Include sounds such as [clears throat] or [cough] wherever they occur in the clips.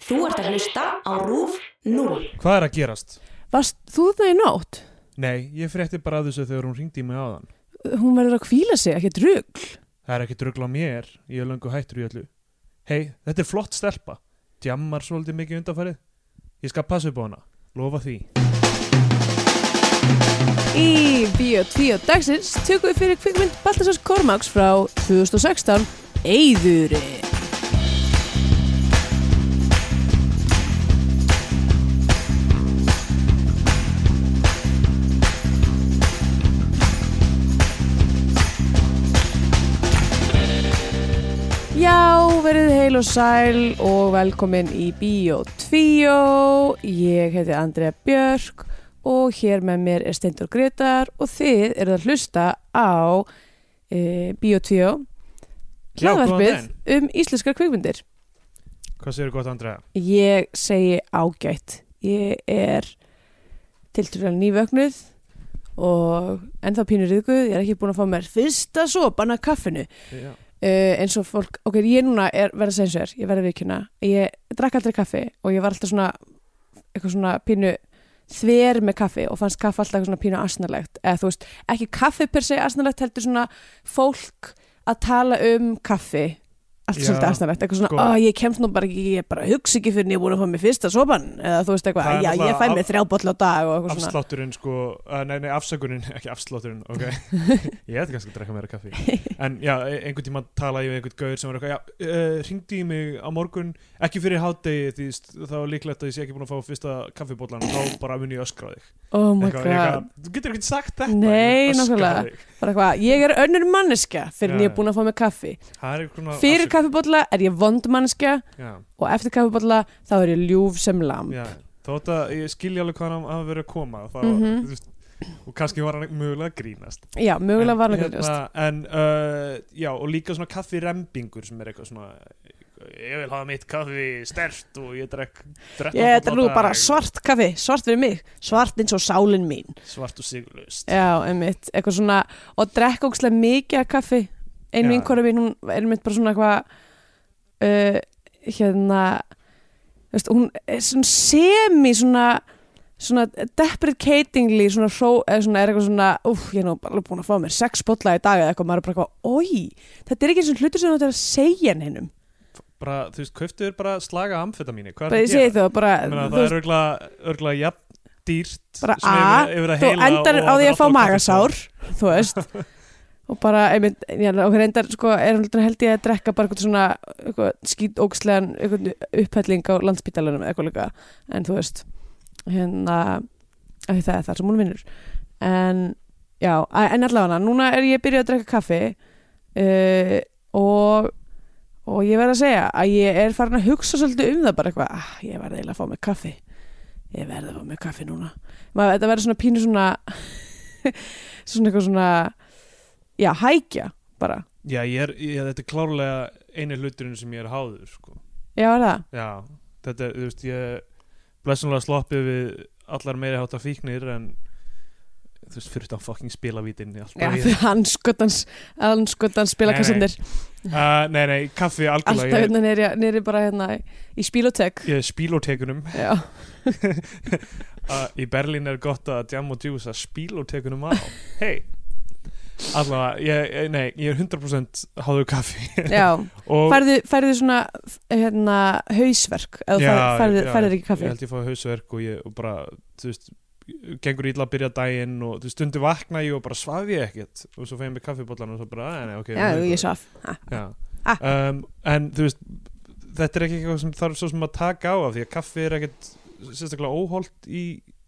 Þú ert að hlusta á RÚF 0. Hvað er að gerast? Varst þú það í nótt? Nei, ég frétti bara að þessu þegar hún ringdi í mig áðan. Hún verður að kvíla sig, ekki drugg. Það er ekki drugla á mér, ég er löngu hættur í öllu. Hei, þetta er flott stelpa. Djammar svolítið mikið undanfarið. Ég skal passa upp á hana, lofa því. Í Bíó 10 dagsins tökum við fyrir kvikmynd Baltasars Kormáks frá 2016 Eyðurinn. Já, verið heil og sæl og velkomin í Bíó 2. Ég heiti Andrea Björk og hér með mér er Steindur Gretar og þið eruð að hlusta á e, Bíó 2 Já, góðan daginn. hlaðvarpið um íslenskar kvikmyndir. Hvað séu gott, Andrea? Ég segi ágætt. Ég er tiltrúlega nývöknuð og ennþá pínur yðguð. Ég er ekki búin að fá mér fyrsta sopan af kaffinu. Já. Uh, eins og fólk, ok, ég núna er verða sensur, ég verða vikuna. Ég drakk aldrei kaffi og ég var alltaf svona eitthvað svona pínu þver með kaffi og fannst kaffi alltaf eitthvað svona pínu asnalegt. Eða þú veist, ekki kaffi per se asnalegt, heldur svona fólk að tala um kaffi allt Já. svolítið asnalegt, eitthvað svona, Sko. sko, ég kemst nú bara ekki, ég bara hugsa ekki fyrir en ég er búin að fá mér fyrsta sopan, eða þú veist Það eitthvað, er já, ég fæ náttúrulega mér þrjá boll á dag og eitthvað svona. Afslátturinn sko, uh, nei, nei, afsökunin, [laughs] ekki afslátturinn, [laughs] ok. Ég ætti kannski að drekka meira kaffi. En já, e, einhvern tíma tala ég við einhvern gaur sem var eitthvað, já, uh, ringdi í mig á morgun, ekki fyrir hátdegi, því st- þá er líklegt að ég sé ekki búin að fá fyrsta kaffibólan og þá bara mun ég öskra á þig. Oh my eitthvað, god, eitthvað, þú getur ekkert sagt þetta Nei, ég öskra nákvæmlega. þig. bara eitthvað, ég er önnur manneska fyrir Já, en ég er búin að fá mér kaffi. Það er einhvern veginn Fyrir kaffibólla er ég vond manneska já, og eftir kaffibólla þá er ég ljúf sem lamp. já. Þótt að ég skilja alveg hvað hann hafa verið að koma það, mm Mhm. veist, Og kannski var hann mögulega að grínast Já, mögulega var hann En, hérna ekki ljóst. En uh, já, og líka svona kaffirembingur sem er eitthvað svona Ég vil hafa mitt kaffi stert og ég drekk 13 Ég þetta er nú bolla á bara dag, svart kaffi, svart fyrir mig, svart eins og sálin mín. Svart og sigurlaust Já, einmitt, eitthvað svona, og drekka ógstlega mikið af kaffi. Ein Já. vinkora mín, hún er einmitt bara svona eitthvað, uh, hérna, þú veist, hún er svona semi svona, svona deprecatingly, svona hró, eða svona er eitthvað svona, úf, ég er nú bara alveg búin að fá mér sex bolla í dag eða eitthvað, maður er bara eitthvað, oi, þetta er ekki eins og hlutur sem þú ættir að segja hennum. Bara, þú veist, kauftu þér bara slaga amfetamíni Hvað bara er ég segi það að gera? það bara, Ég meina, þú Það veist, er örgla, örgla jafn dýrt Bara sem A, yfir- yfir að þú heila endar og á því vera að fá alltaf kaffistofur. magasár þú veist og bara, einmitt, já, og reyndar sko, er hún held ég að drekka bara eitthvað svona eitthvað, skítókslegan eitthvað upphelling á landsbítalunum eitthvað líka en þú veist hérna, af því það er þar sem hún vinnur en já, a- en allavega núna er ég byrjuð að drekka kaffi uh, og og ég verð að segja að ég er farin að hugsa svolítið um það bara eitthvað, ah, ég verð eiginlega að fá mig kaffi ég verð að fá mig kaffi núna maður, þetta verður svona pínu svona [laughs] svona eitthvað svona já, hækja bara Já, ég er, ég, þetta er klárlega eini hluturinn sem ég er háður, sko. já, er það, Já, þetta er, þú veist, ég blessunlega sloppið við allar meiri hátta fíknir en þú veist, fyrir þetta fucking spilavítin í allt já, lagið. [laughs] því anskotans anskotans spilakassandir uh, Nei, nei, kaffi alltaf algjörlega, hérna neyri, neyri bara hérna í- í spílotek ég, ég spílótekunum já, uh, í Berlín er gott að jam og djúsa spílótekunum [laughs] á Hei, allavega, ég, ég- nei, ég er 100% háður kaffi já. [laughs] og Færðu, færðu svona hérna, hausverk eða já, Já, færðu, já, færðu ekki kaffi ég held ég fá hausverk og ég og bara, þú veist gengur ítla að byrja daginn og þú veist, stundu vakna ég og bara svaf ég ekkert og svo fegin mig kaffibóllan og svo bara, að, nei, ok já, nú er ég svaf Ha, bara- Já. Ah. um, en þú veist, þetta er ekki eitthvað sem þarf svo sem að taka á af því að kaffi er ekkert sérstaklega óholt í,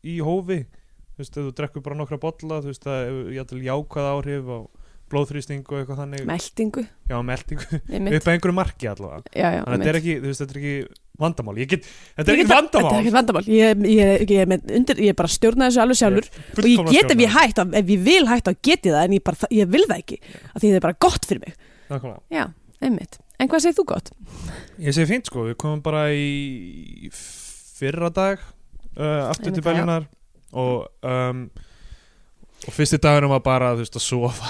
í hófi þú veist, ef þú drekkur bara nokkra bolla þú veist, það hefur jættil jákvæð áhrif á blóðþrýsting og eitthvað þannig meldingu já, meldingu, einmitt. upp að einhverju marki allavega já, já, þannig að þetta er einmitt. ekki, þú veist, þetta er ekki vandamál ég get, þetta er Ég ekki get það- þetta er vandamál ekkert vandamál ég, ég, ég, ég, undir, ég bara stjórna þessu alveg sjálfur og ég Fullkomlega get ef ég stjórnað. hætt ef ég vil hætt þá get ég það en ég, bara, ég vil það ekki af því það er bara gott fyrir mig Nákvæmlega. já, einmitt, en hvað segir þú gott? Ég segi fínt sko, við komum bara í fyrra dag uh, aftur Einmitt, til já. Berlínar og um, og fyrsti dagurinn var bara þú veist að sofa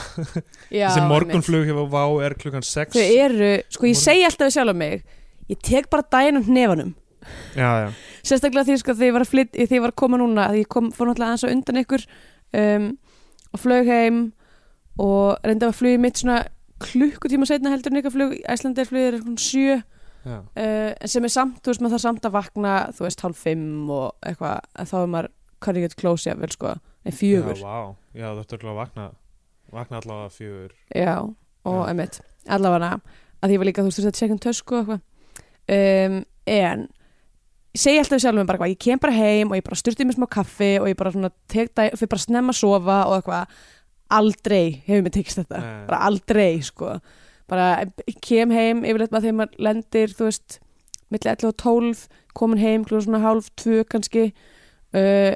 Já, þessi morgunflug hefur vá er klukkan 6 þau eru, sko ég Morgun- segi alltaf við sjálf á mig ég tek bara daginn um hnefanum já, já, sérstaklega því sko þegar ég var að flytt þegar ég var að koma núna, því ég kom, fór náttúrulega aðeins á undan ykkur um, og flög heim og reynda að flugið mitt svona klukkutíma setna heldur en ykkar flug, Æslandir flugið er svona sjö uh, já. en Eh, sem er samt, þú veist, maður þarf samt að vakna þú veist, hálf fimm og eitthvað en þá er maður cutting it close jafnvel sko en fjögur, já, vá. já þú ert örugglega að vakna vakna allavega fjögur já, og Já. emitt allavega, að því ég var líka, þú veist, þú veist að checka um tösku og eitthvað um, en ég segi alltaf sjálf mér bara eitthvað, ég kem bara heim og ég bara styrti mér smá kaffi og ég bara svona tek dag, fyrir bara snemma að sofa og eitthvað aldrei hefur mér tekist þetta Nei. bara aldrei sko bara ég kem heim yfirleitt maður þegar maður lendir þú veist, milli 11 og 12 komin heim klúður svona hálf, tvö kannski uh,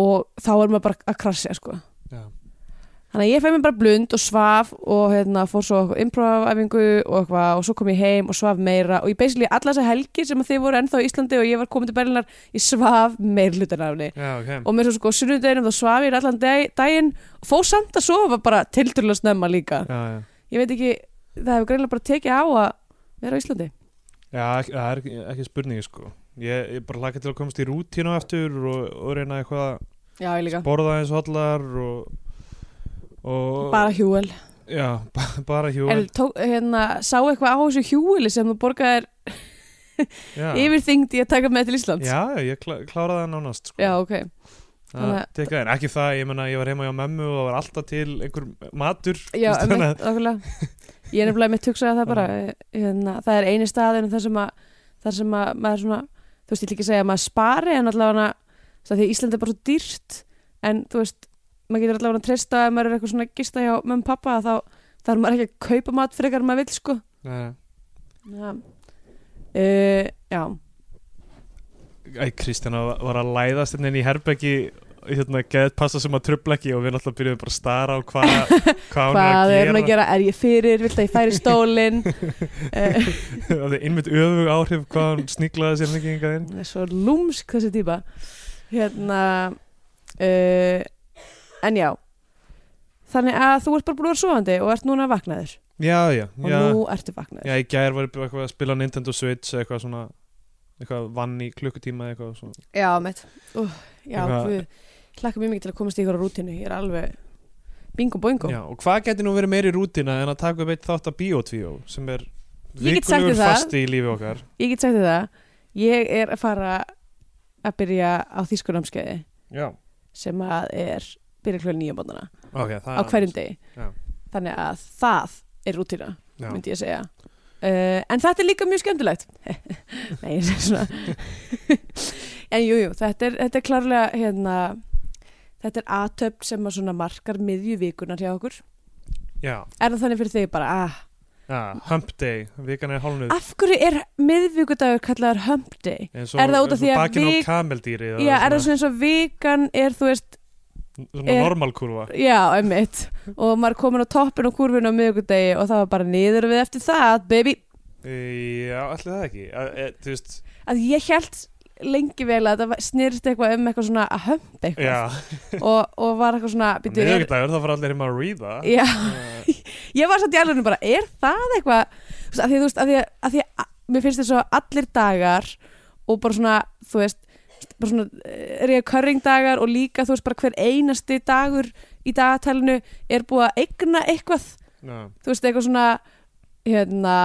og þá er maður bara að krasja sko já, Þannig að ég fæði mér bara blund og svaf og hérna, fór svo eitthvað improv-æfingu og, eitthvað, og svo kom ég heim og svaf meira og ég basically alla þessa helgi sem að þið voru ennþá í Íslandi og ég var komin til Berlinar, ég svaf meir hlutin af henni já, ok og mér svo sko sunnudeginum þá svaf ég allan dag, daginn og fór samt að sofa bara tildurlega snemma líka já, já. ég veit ekki, það hefur greinlega bara tekið á að vera á Íslandi já, ekki- það er ekki, ekki spurningi sko ég, ég bara laka til að komast í rútínu aftur og, og reyna eitthvað að Já, ég líka borða eins hollar og, og Bara hjúel já, ba bara hjúl En tók, hérna, sá eitthvað á þessu hjúeli sem þú borgaðir já. yfirþyngd í að taka með til Íslands já, já, ég klá, kláraði það nánast sko. Já, ok Það Þannig að- tekið þær, ekki það, ég menna ég var heima hjá memmu og það var alltaf til einhver matur Já, þú veist, þannig einmitt, okkurlega Ég er nefnilega mitt hugsaði að um það bara hérna, það er eini staðin þar sem að þar sem að maður svona þú veist, ég vil ekki segja að maður spari en allavega það því að Ísland er bara svo dýrt en þú veist, maður getur allavega að treysta ef maður er eitthvað svona að gista hjá mömmu og pappa þá þarf maður ekki að kaupa mat frekar en maður vill sko að- Já, uh, já. Æ, Kristjana var að læðast hérna inn í herbeggi hérna, geðt passa sem að trubla ekki og við náttúrulega byrjuðum bara að stara á [laughs] hvað hvað hvað er hún hún að gera, er ég fyrir vilt að ég færi stólin [laughs] uh, Það er innmitt öfug áhrif hvað hún sníklaði sér ekki yngað inn svo lúmsk þessi típa hérna uh, en já þannig að þú ert bara búin að vera sofandi og ert núna vaknaður Já, já, og já, nú ertu vaknaður já í gær var ég bara eitthvað að spila Nintendo Switch eitthvað svona eitthvað vann í klukkutíma eitthvað svona. já, mitt uh, já, Eitthvað- við hlakka mjög mikið til að komast í ykkur á rútinu ég er alveg bingo boingo Já, og hvað geti nú verið meiri rútina en að taka upp eitt þátt af Bíotvíó sem er Ég get sagt þér vikulegur það. fasti í lífi okkar ég get sagt þér það, ég er að fara að byrja á þýskunamskeiði Já, sem að er byrja kljóðan nýja bóndana ok, það á hverjum degi Ah, Já. þannig að það er rútina Já. myndi ég segja uh, en þetta er líka mjög skemmtilegt [laughs] nei, ég segi svona [laughs] en jújú, jú, þetta, er- þetta er klárlega hérna, þetta er aðtöp sem að svona markar miðjuvikunar hjá okkur Já, er það þannig fyrir þig bara ah, já, hump day, vikan er hálfnuð af hverju er miðvikudagur kallaður hump day eins Er það út af því að bakinn við- á kameldýri já, er það svona eins og vikan er þú veist svona, svona er- normalkurva Já, einmitt Og maður komin á toppin og kurvin á miðvikudegi Og það var bara niður við eftir það, baby já, allir það ekki Að- e, þú veist, Að ég held lengi vel að það snýrst eitthvað um eitthvað svona að hömpa já eitthvað og, og var eitthvað svona býttu, er, miðvikudagur, þá fara allir heima að reada Já, [laughs] ég var satt í alveg bara Er það eitthvað Þú veist, Af því, þú veist, af því, að- af því að mér finnst þess að allir dagar Og bara svona, þú veist bara svona reoccurring dagar og líka þú veist bara hver einasti dagur í dagatælinu er búið að eigna eitthvað já, þú veist, eitthvað svona hérna,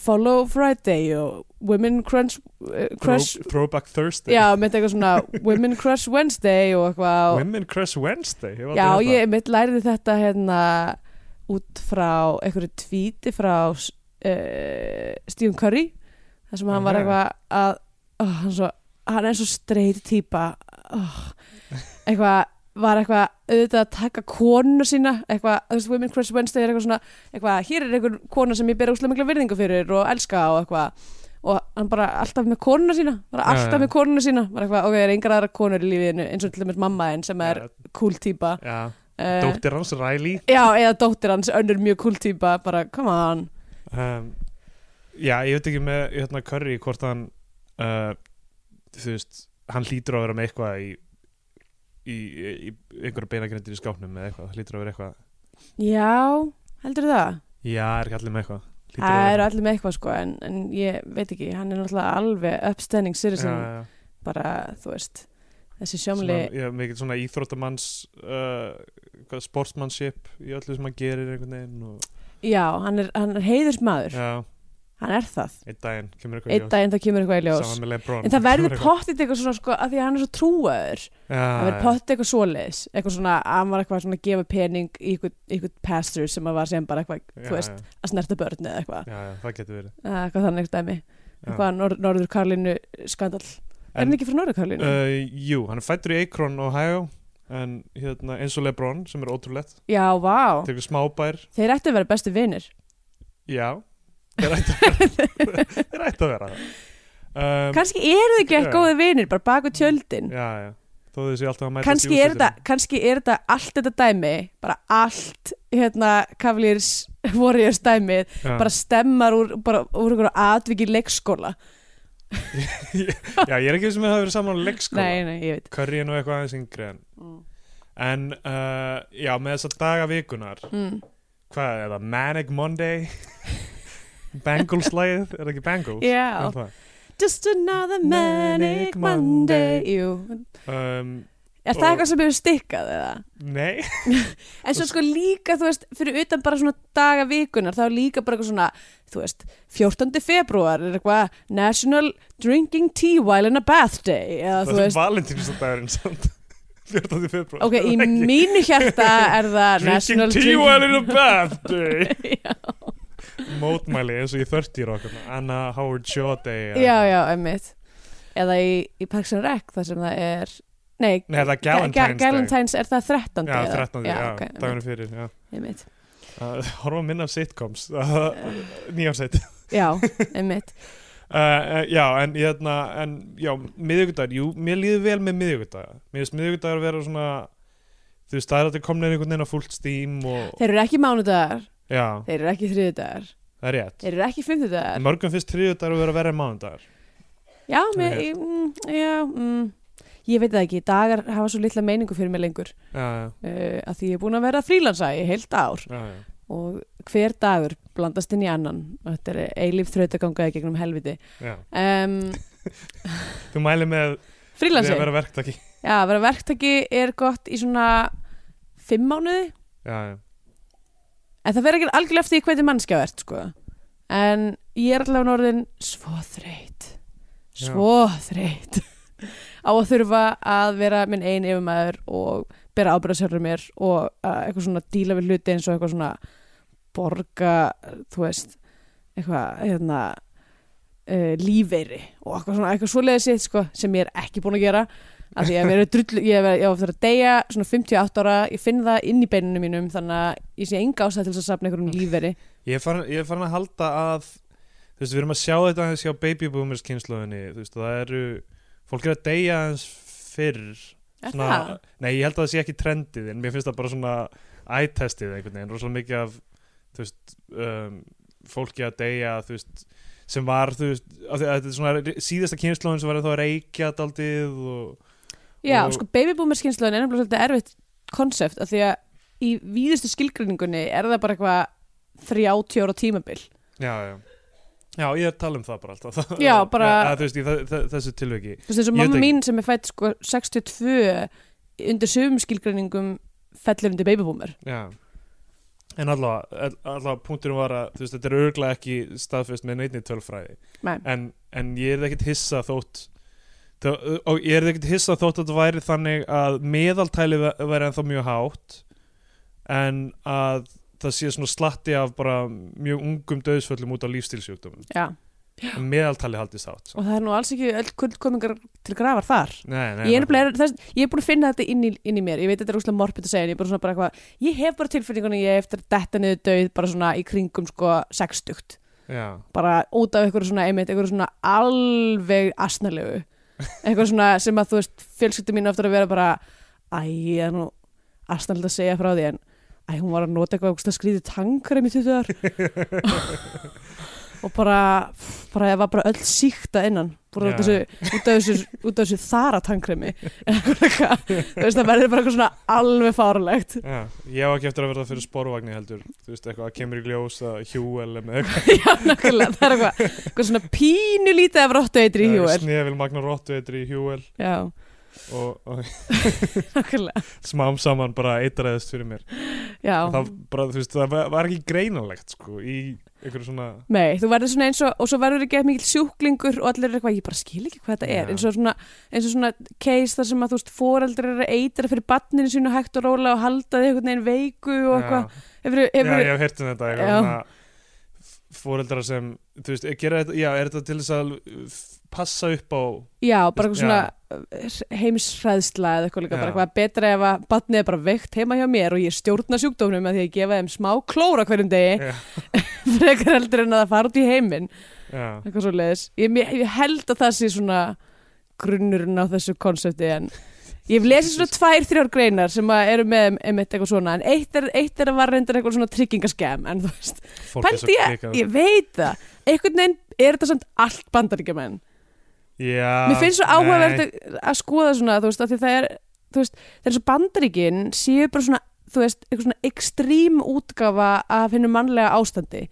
Follow Friday og Women Crunch uh, Crush, Throw, throwback Thursday já, mitt eitthvað svona Women Crush Wednesday og eitthvað og, Women Crush Wednesday hef Já, aldrei ég heyrt mitt læriði þetta hérna út frá einhverju tvíti frá uh, Stephen Curry þar sem hann var Ok. eitthvað að oh, hann, svo, hann er svo streit típa oh, eitthvað var eitthvað auðvitað að taka konu sína eitthvað, þú veist, Women Crush Wednesday er eitthvað svona eitthvað, hér er einhver kona sem ég ber úslega mikla virðingu fyrir og elska og eitthvað og hann bara alltaf með konuna sína bara Já, alltaf já. með konuna sína bara eitthvað, ok, það er engar aðra konur í lífiðinu eins og til dæmis mamma henn sem er það. cool típa já, já. Eh, dóttir hans Riley já, eða dóttir hans, önnur mjög cool típa bara, come on um, já, ég veit ekki með hérna Curry hvort hann uh, þú veist, hann hlýtur að vera með eitthvað í í, í, í einhverja beinagrindir í skápnum eða eitthvað, hlýtur að vera eitthvað já, heldur það? já, er ekki allir með eitthvað Hlýtur að það vera. eru allir með eitthvað sko en, en ég veit ekki, hann er náttúrulega alveg upstanding citizen, Já, já, já. bara þú veist þessi sjómli Svona- já, mikið svona íþróttamanns uh, hvað, sportsmanship í öllu sem hann gerir einhvern veginn og, já, hann er, hann er heiðurs maður já, hann er það, einn daginn kemur eitthvað í einn daginn það kemur eitthvað í ljós. ljós saman með Lebron en það verður Kemur eitthvað- pottit eitthvað svona sko af því að hann er svo trúaður það verður já, pottit eitthvað svoleiðis eitthvað svona, að hann var eitthvað svona að gefa pening í eitthvað, eitthvað pastor sem að var sem bara eitthvað, já, þú veist, já, að snerta börn eða eitthvað, já, já, það getur verið Eða eitthvað þannig eitthvað dæmi Já. eitthvað nor norður Karlinu skandal er hann ekki frá norður Karlinu? uh, jú, hann er fættur í Akron, Ohio en hérna, eins og Lebron sem er ótrúlegt, já, vá, tekur smábær þeir ættu að vera bestu vinnir [laughs] já, þeir ætti að vera þeir ætti að vera það um, kannski eru þau ekki já. eitthvað góði vinnir bara baku tjöldin já, já, þó þau séu alltaf að mæta kannski er, þetta, kannski er þetta allt þetta dæmi bara allt hérna Cavaliers Warriors dæmið bara stemmar úr, bara, úr einhverju atviki leikskóla já, ég er ekki sem að það hafi verið saman á leikskóla nei, nei, ég veit Curry er nú eitthvað aðeins yngri en Mm. En, uh, já, með þess að daga vikunar mm. Hvað er það? Manic [laughs] Monday? Bangles-lægið? Er það ekki Bangles? já, Yeah. just another manic Monday Jú. Um, er það Og- eitthvað sem hefur stikkað eða? nei, en svo sko líka, þú veist, fyrir utan bara svona daga vikunar, þá er líka bara eitthvað svona þú veist, 14. februar er eitthvað National Drinking Tea While in a Bath Day það eða þú er veist, valentínsdagurinn samt [laughs] 14. februar ok, [laughs] í mínu hjarta er það Drinking National tea while in a [laughs] bath Já. day Mótmæli eins og í 30 okkur Anna Howard Shaw day eða- já, já, emmitt eða í, í Parks and Rec þar sem það er nei, Nei, það er Galentine's day Galentine's er það 13. Já, eða? 13. Já, já, já okay, dagunum fyrir já. einmitt. Uh, Horfa minna af sitcoms [laughs] uh, Nýjámsætt já, einmitt Uh, uh, já, en hérna, en já, miðvíkudagur, jú, mér líður vel með miðvíkudagur. Mér finnst miðvíkudagur að vera svona, þú veist, það er að þetta komna einhvern veginn á fullt stím og, þeir eru ekki mánudagar, já, þeir eru ekki þriðudagar það er rétt. þeir eru ekki fymtudagar Mörgum finnst þriðudagur að vera verið mánudagur. já, mér, Rétt. ég, mm, já mm, ég veit það ekki, dagar hafa svo litla meiningu fyrir mig lengur Já, já, uh, að því ég er búin að vera frílansa í heilt ár já, já, og hver dagur blandast inn í annan og þetta er eilíf þrautaganga í gegnum helviti já. um, Þú mæli með því frílansi að vera verktaki. Já, að vera verktaki er gott í svona fimm mánuði, Já, já, en það verður ekki algjörlega eftir því hvað þið mannskja verðt, sko en ég er allavega orðin svo þreytt svo þreytt á að þurfa að vera minn ein yfirmaður og bera ábyrða sjálfur mér og uh, eitthvað svona díla við hluti eins og eitthvað svona borga, þú veist eitthvað, hérna uh, lífeyri og eitthvað svona eitthvað svoleiðið sitt, sko, sem ég er ekki búin að gera af því að mér er drullu, ég er ég á eftir að deyja svona 58 ára, ég finn það inn í beinunum mínum, þannig að ég sé enga ástæð til þess að safna einhverjum lífeyri Ég er farin, ég er farin að halda að, þú veist, við erum að sjá þetta aðeins hjá baby boomers kynsluðinni, þú veist, það eru, fólk er að deyja aðeins fyrr Er það? svona, nei, ég held að það sé ekki trendið en mér finnst það bara svona ættestið einhvern veginn, rosalega mikið af þú veist, um, fólki að deyja þú veist, sem var þú veist, af því að þetta er svona síðasta kynnslóðin sem var þá að reykja daldið og, Já, Og- sko babyboomerskynslaðin er nefnilega svolítið erfitt konsept af því að í víðustu skilgrinningunni er það bara eitthvað 30 ára tímabil já, já Já, ég er að tala um það bara alltaf [laughs] Já, bara- Eða, Þú veist, í þe- þe- þessu tilviki Þú veist eins og Ég veit mamma ekki. mín sem er fætt sko 62 undir sögum skilgrinningum fellur undir babyboomer Já En allavega, allavega punkturinn var að þú veist, þetta er örglega ekki staðfest með neittni tölfræði Nei. en, en ég er ekkit hissa þótt þó, og ég er ekkit hissa þótt að þetta væri þannig að meðaltæli væ- væri ennþá mjög hátt en að það sé svona slatti af bara mjög ungum döðsföllum út á lífstilsjúkdómum Já, en meðaltæli haldist hátt og það er nú alls ekki öll kullkomingar til grafar þar nei, nei, Ég er, nefnilega- þess, ég er búin að finna þetta inn í, inn í mér ég veit þetta er úslega morbid að segja en ég, er bara svona bara eitthvað, ég hef bara tilfinningunni ég hef eftir að detta niður döið bara svona í kringum sko 60 Já, bara út af einhverju svona einmitt, einhverju svona alveg asnalegu einhverju svona sem að þú veist fjölskyldi mín aftur að vera bara æ, ég er nú asnalega að segja frá því en æ, hún var að nota eitthvað skrýði tankrem í 20 ár og bara, bara það var bara öll síkta innan bara út Já. af þessu, út af þessu, út af þessu þaratangremi þú veist það verður bara eitthvað svona alveg fárlegt Já, ég á ekki eftir að verða fyrir sporvagni heldur Þú veist, eitthvað að kemur í gljós að hjúel [laughs] með [laughs] já, nákvæmlega, það er eitthvað eitthvað svona pínu lítið af rottu eitri í hjúvel Snefil Magna Rottveitri í hjúel já, og, [laughs] og nákvæmlega smám saman bara eitræðist fyrir mér já. það, bara, þú veist, það var- var ekki greinanlegt sko, í einhverju svona Nei, þú verður svona eins og, og svo verður ekki mikil sjúklingur og allir er eitthvað, ég bara skil ekki hvað þetta Já. er eins og svona, eins og svona case þar sem að þú veist, foreldrar eru að eitra fyrir barninu sínu hægt og róla og halda þig einhvern veginn veiku og eitthvað, hefur, Já, hefur, ég hef heyrt um þetta eitthvað Já. svona fóreldrar sem, þú veist, gera þetta já, er þetta til þess að f- passa upp á já, Já. bara eitthvað svona heimsræðsla eða eitthvað líka, Já. bara eitthvað betra ef að barnið er bara veikt heima hjá mér og ég stjórna sjúkdómnum að því að ég gefa þeim smá klóra hverjum degi Já. frekar heldur en að það fara út í heiminn já, eitthvað svo leiðis ég, mér- ég held að það sé svona grunnurinn á þessu konsepti en ég hef lesið svona tvær, þrjár greinar sem að eru með um eitthvað svona en eitt er, eitt er að var reyndar eitthvað svona tryggingaskem en þú veist, fólk er svo pælti ég, klikað ég veit það einhvern veginn er þetta samt allt bandaríkjamenn já, mér finnst svo Ah, nei. áhugavert að- að skoða svona þú veist, af því það er þú veist, það er svo bandaríkin séu bara svona þú veist, eitthvað svona ekstrím útgafa af hennu mannlega ástandi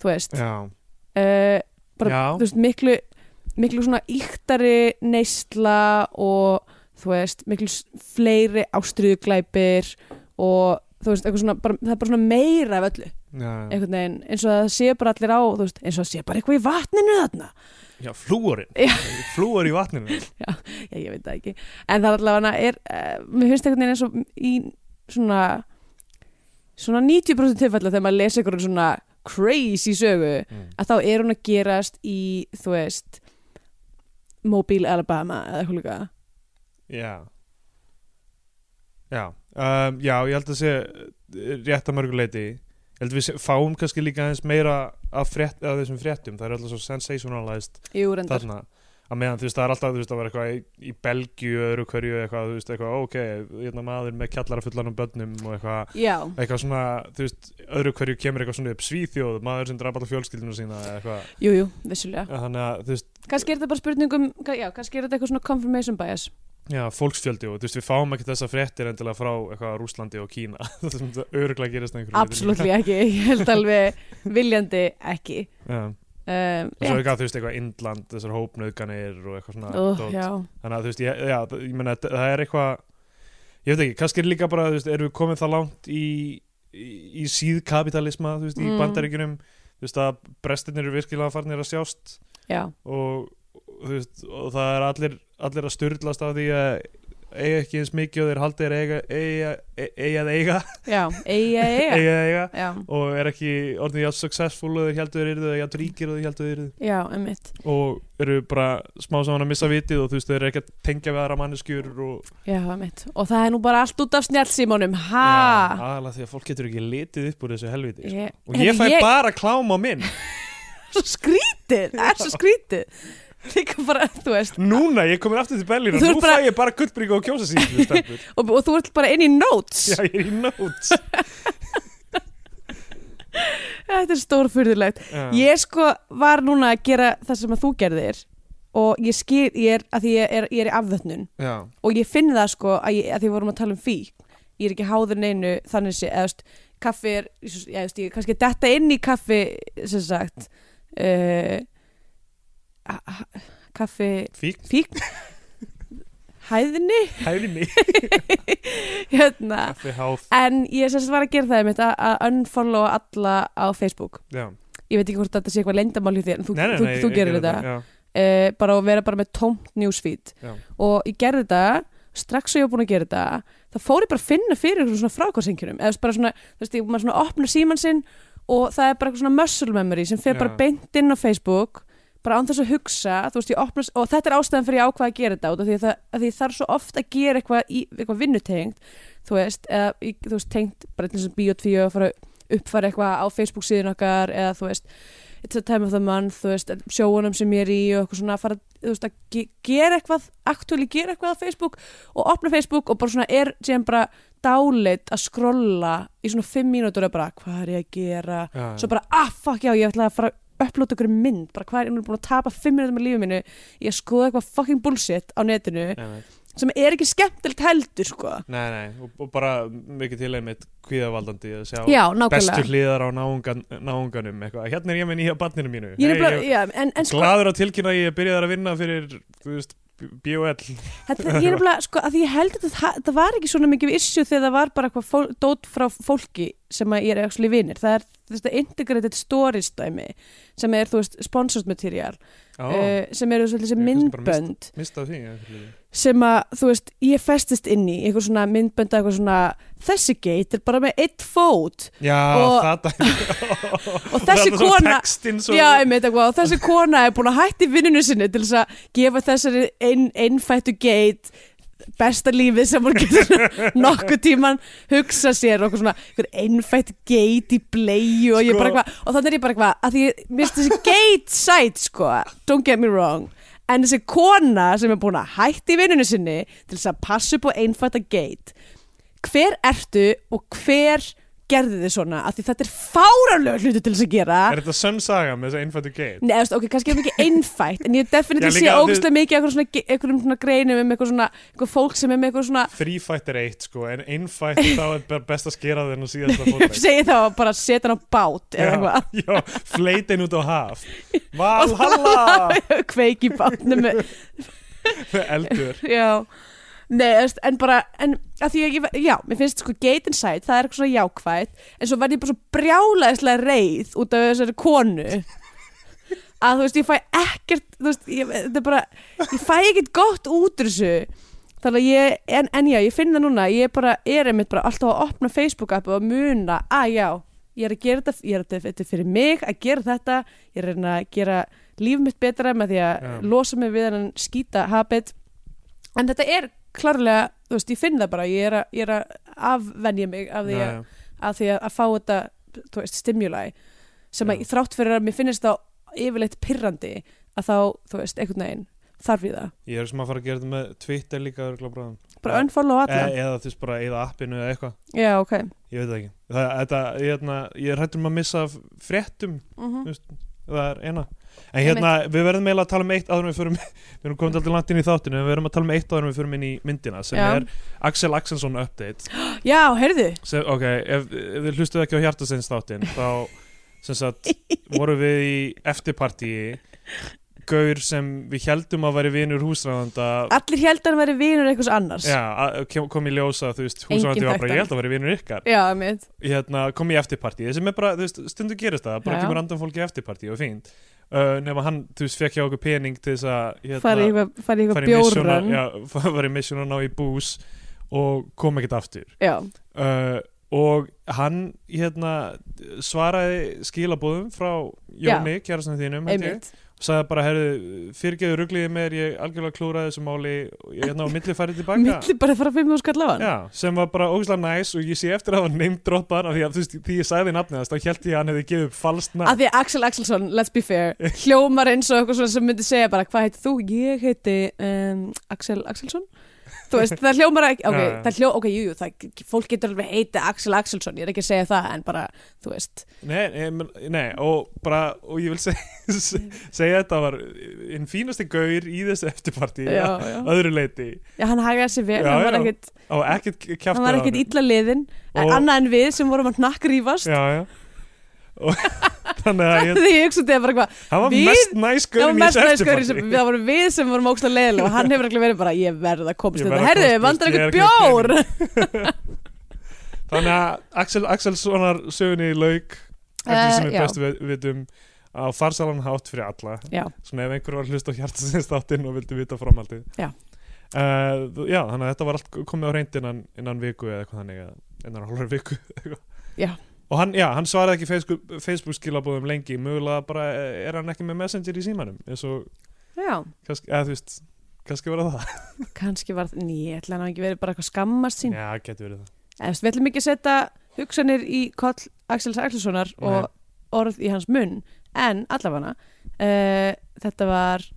þú veist já, uh, bara, Já. þú veist, miklu miklu svona íktari neysla og þú veist, miklu s- fleiri ástriðuglæpir og þú veist, eitthvað svona, bara, það er bara svona meira af öllu, já, já. einhvern veginn eins og að það sé bara allir á, þú veist, eins og að sé bara eitthvað í vatninu þarna, já flúorinn Já. flúor í vatninu já, ég veit það ekki en það allavega er, uh, mér finnst einhvern veginn eins og í svona svona 90% tilfella þegar maður lesa einhverjum svona crazy sögu Mm. að þá er hún að gerast í, þú veist Mobile, Alabama eða eitthvað líka Já Já, um, já ég held að sé eh, rétt að mörgu leiti Ég held að við sé- fáum kannski líka aðeins meira af, frétt, af þessum fréttum Það er alltaf svo sensationalized Jú, reyndar, þarna að meðan þú veist það er alltaf þú veist það var eitthvað í, í Belgíu öðru hverju eitthvað þú veist eitthvað ok hérna maður með kjallara fullan um börnum og eitthvað já eitthvað svona þú veist öðru hverju kemur eitthvað svona upp svíþjóð maður sem draf alltaf fjölskyldinu sína eða [laughs] eitthvað Jú, jú, vissulega þannig að þú veist Kannski er þetta bara spurningum, já, kannski er þetta eitthvað svona confirmation bias Já, fólksfjöldi og þú veist, við fáum ekki þessa fréttir endilega frá eitthvað Rúslandi og Kína [laughs] það sem það öruglega gerist einhverjum Absolutt ekki, ég held alveg viljandi ekki Já, um, og svo eitthvað, þú veist, eitthvað Indland, þessar hópnauðganir og eitthvað svona oh, dót. Já, Þannig að þú veist, ég, já, það- ég meina, það það er eitthvað Ég veit ekki, kannski er líka bara, þú veist, erum við komið það langt í, í, í síðkapitalisma, þú veist, í Mm. bandaríkjunum Þú veist, að brestirnir eru virkilega farnir að sjást já, og, og þú veist, og það er allir, allir að styrlast af því að eiga ekki eins mikið og þeir haldið er eiga, eiga, eiga, eiga að eiga já, eiga, eiga eiga, eiga Já, og er ekki orðin jafn successful og þeir heldur þeir eru eða jafn ríkir og þeir heldur þeir eru já, emmitt og eru bara smá saman að missa vitið og þú veist þeir eru ekki að tengja við aðra manneskjur og Já, emmitt Og það er nú bara allt út af snjálfsímónum, ha aðalega því að fólk getur ekki litið upp úr þessu helviti sko. Ég- og ég fæ Ég- bara klám á minn Svo skrítið, það [laughs] er svo skrítið Líka bara, þú veist núna, ég komin aftur til Berlín og Þú nú ert bara- fæ ég bara guttbríku og kjósa síðan stelpur. [laughs] og, og þú ert bara inn í notes já, ég er í notes þetta er stórfyrðulegt Já. ég sko var núna að gera það sem að þú gerðir og ég skil, ég er að því ég er, ég er í afvötnun já, og ég finn það sko að, ég, að því við vorum að tala um fík ég er ekki háður neinu þannig sé eða þú veist, kaffi er, ég svo- já, þú veist, ég er kannski að detta inn í kaffi sem sagt uh, a- a- kaffi fík, fík [laughs] hæðinni hæfni hérna kaffi, háð en ég sem sagt var að gera það einmitt, að- að unfollowa alla á Facebook já. ég veit ekki hvort þetta sé eitthvað leyndamál hjá þér en þú, þú, þú ég gerir gerði þetta já, uh, bara að vera bara með tómt newsfeed Já. og ég gerði þetta strax og ég var búin að gera þetta þá fór ég bara að finna fyrir einhverjum svona frákvæðsengjunum eða bara svona, þú veist, ég- maður svona opnar síman sinn og það er bara eitthvað svona muscle memory sem fer Já. bara beint inn á Facebook bara án þess að hugsa, þú veist, ég opna og þetta er ástæðan fyrir ég ákvað að gera þetta út af því að, það, að því þarf svo oft að gera eitthvað, í, eitthvað vinnutengt, þú veist eða, í- þú veist, tengt bara eins og bíotvíu að fara að uppfara eitthvað á Facebook síðan okkar eða þú veist, it's a time of the month þú veist, sjóunum sem ég er í og eitthvað svona að fara, þú veist, að ge gera eitthvað aktúli gera eitthvað á Facebook og opna Facebook og bara svona er síðan bara dáleitt að skrolla í svona fimm mínútur og bara, hvað er ég að gera já, svo bara, ah, fuck já, ég ætla að fara upplóta ykkur mynd, bara hvað er, ég er búin að tapa fimm minútum af lífið minu, ég að skoða eitthvað fucking bullshit á netinu, Einmitt. sem er ekki skemmtilegt heldur, sko Nei, nei, og, og bara mikið til einmitt kvíðavaldandi að sjá Já, bestu nákvæmlega hliðar á náungan, náunganum eitthvað. Hérna er ég með nýja barninu mínu. Ég er Hey, nefnilega, já, en, en sko, Glaður að tilkynna að ég er byrjaðar að vinna fyrir, þú veist, BOL. þetta, ég er nefnilega, sko, að því ég held að þetta það var ekki svona mikið issue þegar það var bara eitthvað fól, dót frá fólki sem að ég er ekki vinir, það er þetta integrated story stæmi sem er, þú veist, sponsored material Já, uh, sem eru svolítið þessi Ég kannski bara myndbönd mista því. ég fyrir. sem að, þú veist, ég festist inn í eitthvað svona myndbönda, eitthvað svona þessi geit er bara með eitt fót Já, Og- þetta. [laughs] og þessi Þetta er svona kona Textin svo. já, einmitt, eitthvað, og þessi kona er búin að hætti vinninu sinni til þess að gefa þessari ein, einfættu geit besta lífið sem hún getur [laughs] nokkuð tíman hugsa sér og eitthvað svona, einhver einfætt geit í bleju og ég Sko- bara eitthvað og þannig er ég bara eitthvað, að því ég mist þessi geit sæt sko, don't get me wrong en þessi kona sem er búin að hætti vinninu sinni til þess að passa upp á einfætta geit hver ertu og hver gerði þið svona, af því þetta er fáránlega hluti til þess að gera Er þetta sönn saga með þessa einfættu geit? Nei, þú veist, ok, kannski er það [laughs] ekki einfætt en ég definitív Já, sé líka að ógustlega mikið eitthvað svona, eitthvað svona greinum um eitthvað svona eitthvað fólk sem er með eitthvað svona [laughs] Þrýfætt er eitt sko, en einfætt þá er bara best að skera þenn og síðast að [laughs] fóta. segi þá að bara setja hann á bát eða Já, eitthvað [laughs] já, fleitin út á [laughs] haf. Valhalla! kveiki í bátnum með- Eldur. já Nei, þú veist, en bara, en að því að ég, já, mér finnst sko gate inside, það er eitthvað svona jákvætt, en svo verð ég bara svo brjálaðislega reið út af þessari konu að þú veist, ég fæ ekkert, þú veist, ég, þetta er bara, ég fæ ekkert gott út úr þessu, þannig að ég, en, en já, ég finn það núna, ég bara, er einmitt bara alltaf að opna Facebook-appu og muna, að já, ég er að gera þetta, ég er að þetta er fyrir mig að gera þetta, ég er að reyna að gera líf mitt betra með því að Já. losa mig við hann skýta habit en þetta er klarlega þú veist, ég finn það bara, ég er að, ég er að afvenja mig af því Já, að, já. af því að, að fá þetta, þú veist, stimuli sem að Já. þrátt fyrir að mér finnist þá yfirleitt pirrandi að þá, þú veist, einhvern veginn þarf ég það, Ég er sem að fara að gera þetta með Twitter líka örugglega bráðum. bara unfollow e alla eða þú veist bara eða appinu eða eitthvað já, ok ég veit það ekki það, þetta, ég, hérna, ég er hættur um að missa af fréttum mm Þú það er eina en hérna við verðum eiginlega að tala um eitt áður en við förum [laughs] við erum komin alltaf langt inn í þáttinu en við verðum að tala um eitt áður en við förum inn í myndina sem Já. er Axel Axelsson update já, heyrðu, sem, ok, ef, ef við hlustuð ekki á Hjartasins þáttin þá sem [laughs] sagt vorum við í eftirpartíi gaur sem við heldum að væri vinur húsræðanda allir held að hann væri vinur einhvers annars já, að- kom- kom í ljósa þú veist húsræðandi Enginn var bara þekkti ég held að væri vinur ykkar já mitt, hérna, kom í eftirparti sem er bara, þú veist, stundu gerist það bara Já. kemur andan fólki í eftirparti og fínt uh, nema hann, þú veist, fekk hjá okkur pening til þess að hérna, farið í eitthvað fara í eitthvað fara í misjón að- bjóran já, já, var í mission og ná í bús og kom ekkert aftur já. uh, og hann hérna, svaraði skilabóðum frá Jóni, kjærastanum þínum held ég, einmitt og sagði bara, herðu, fyrirgeðu rugliði mér ég algjörlega klúraði þessu máli og ég hérna á milli farið tilbaka milli bara að fara fyrir mjög skall af hann Já, sem var bara ógæslega næs og ég sé eftir að það var neymdroppar af því að þú veist, því ég sagði nafnið þess, þá held ég að hann hefði gefið upp falskt að nafn. því að Axel Axelsson, let's be fair hljómar eins og eitthvað svona sem myndi segja bara hvað heitir þú, ég heiti um, Axel Axelsson þú veist, það hljómar ekki, ok, Já, já. það hljómar, ok, jú, jú það, fólk getur alveg heiti Axel Axelsson ég er ekki að segja það, en bara, þú veist Nei, nei, men- nei, og bara, og ég vil seg, [laughs] segja þetta var einn fínasti gaur í þessu eftirparti, já, að já, öðru leiti, já hann hagaði sér vel, Já, hann var já. ekkit og ekkert kjæftur hann var ekkit illa liðin, Og- en annað en við sem vorum að [laughs] nakkrífast, Já, já. Og, [laughs] þannig að ég, því ég hugsa þetta bara eitthvað hann var Við- mest næs Það var gaurinn í mest þessu næst gaurinn sem, eftirparti. það voru við sem vorum ógstlega leiðilega og hann hefur ekki verið bara, ég verð að komast Ég þetta, verð að herðu, komast vandar burt, ég eitthvað er ekki með bjór [laughs] Þannig að Axel Axelssonar sögunni lauk, eftir því Eh, sem við já. best við, vitum, á farsalan hátt fyrir alla. já, svona ef einhver var að hlusta á hjartasins þáttinn og vildi vita framhaldið Já. Eh, þú- já, þannig að þetta var allt komið á reynd innan, innan viku eða eitthvað þannig eða innan hálfur viku eitthvað. Já. og hann, já, hann svaraði ekki Facebook, Facebook skilabóðum lengi mögulega bara eh, er hann ekki með Messenger í símanum eins og já kannski, eða þú veist kannski verða það kannski var það, ný, ætla hann hafi ekki verið bara eitthvað skammast sín, já, getur verið það en við ætlum ekki að setja hugsanir í koll Axels Axelssonar og orð í hans munn en allavega uh, þetta var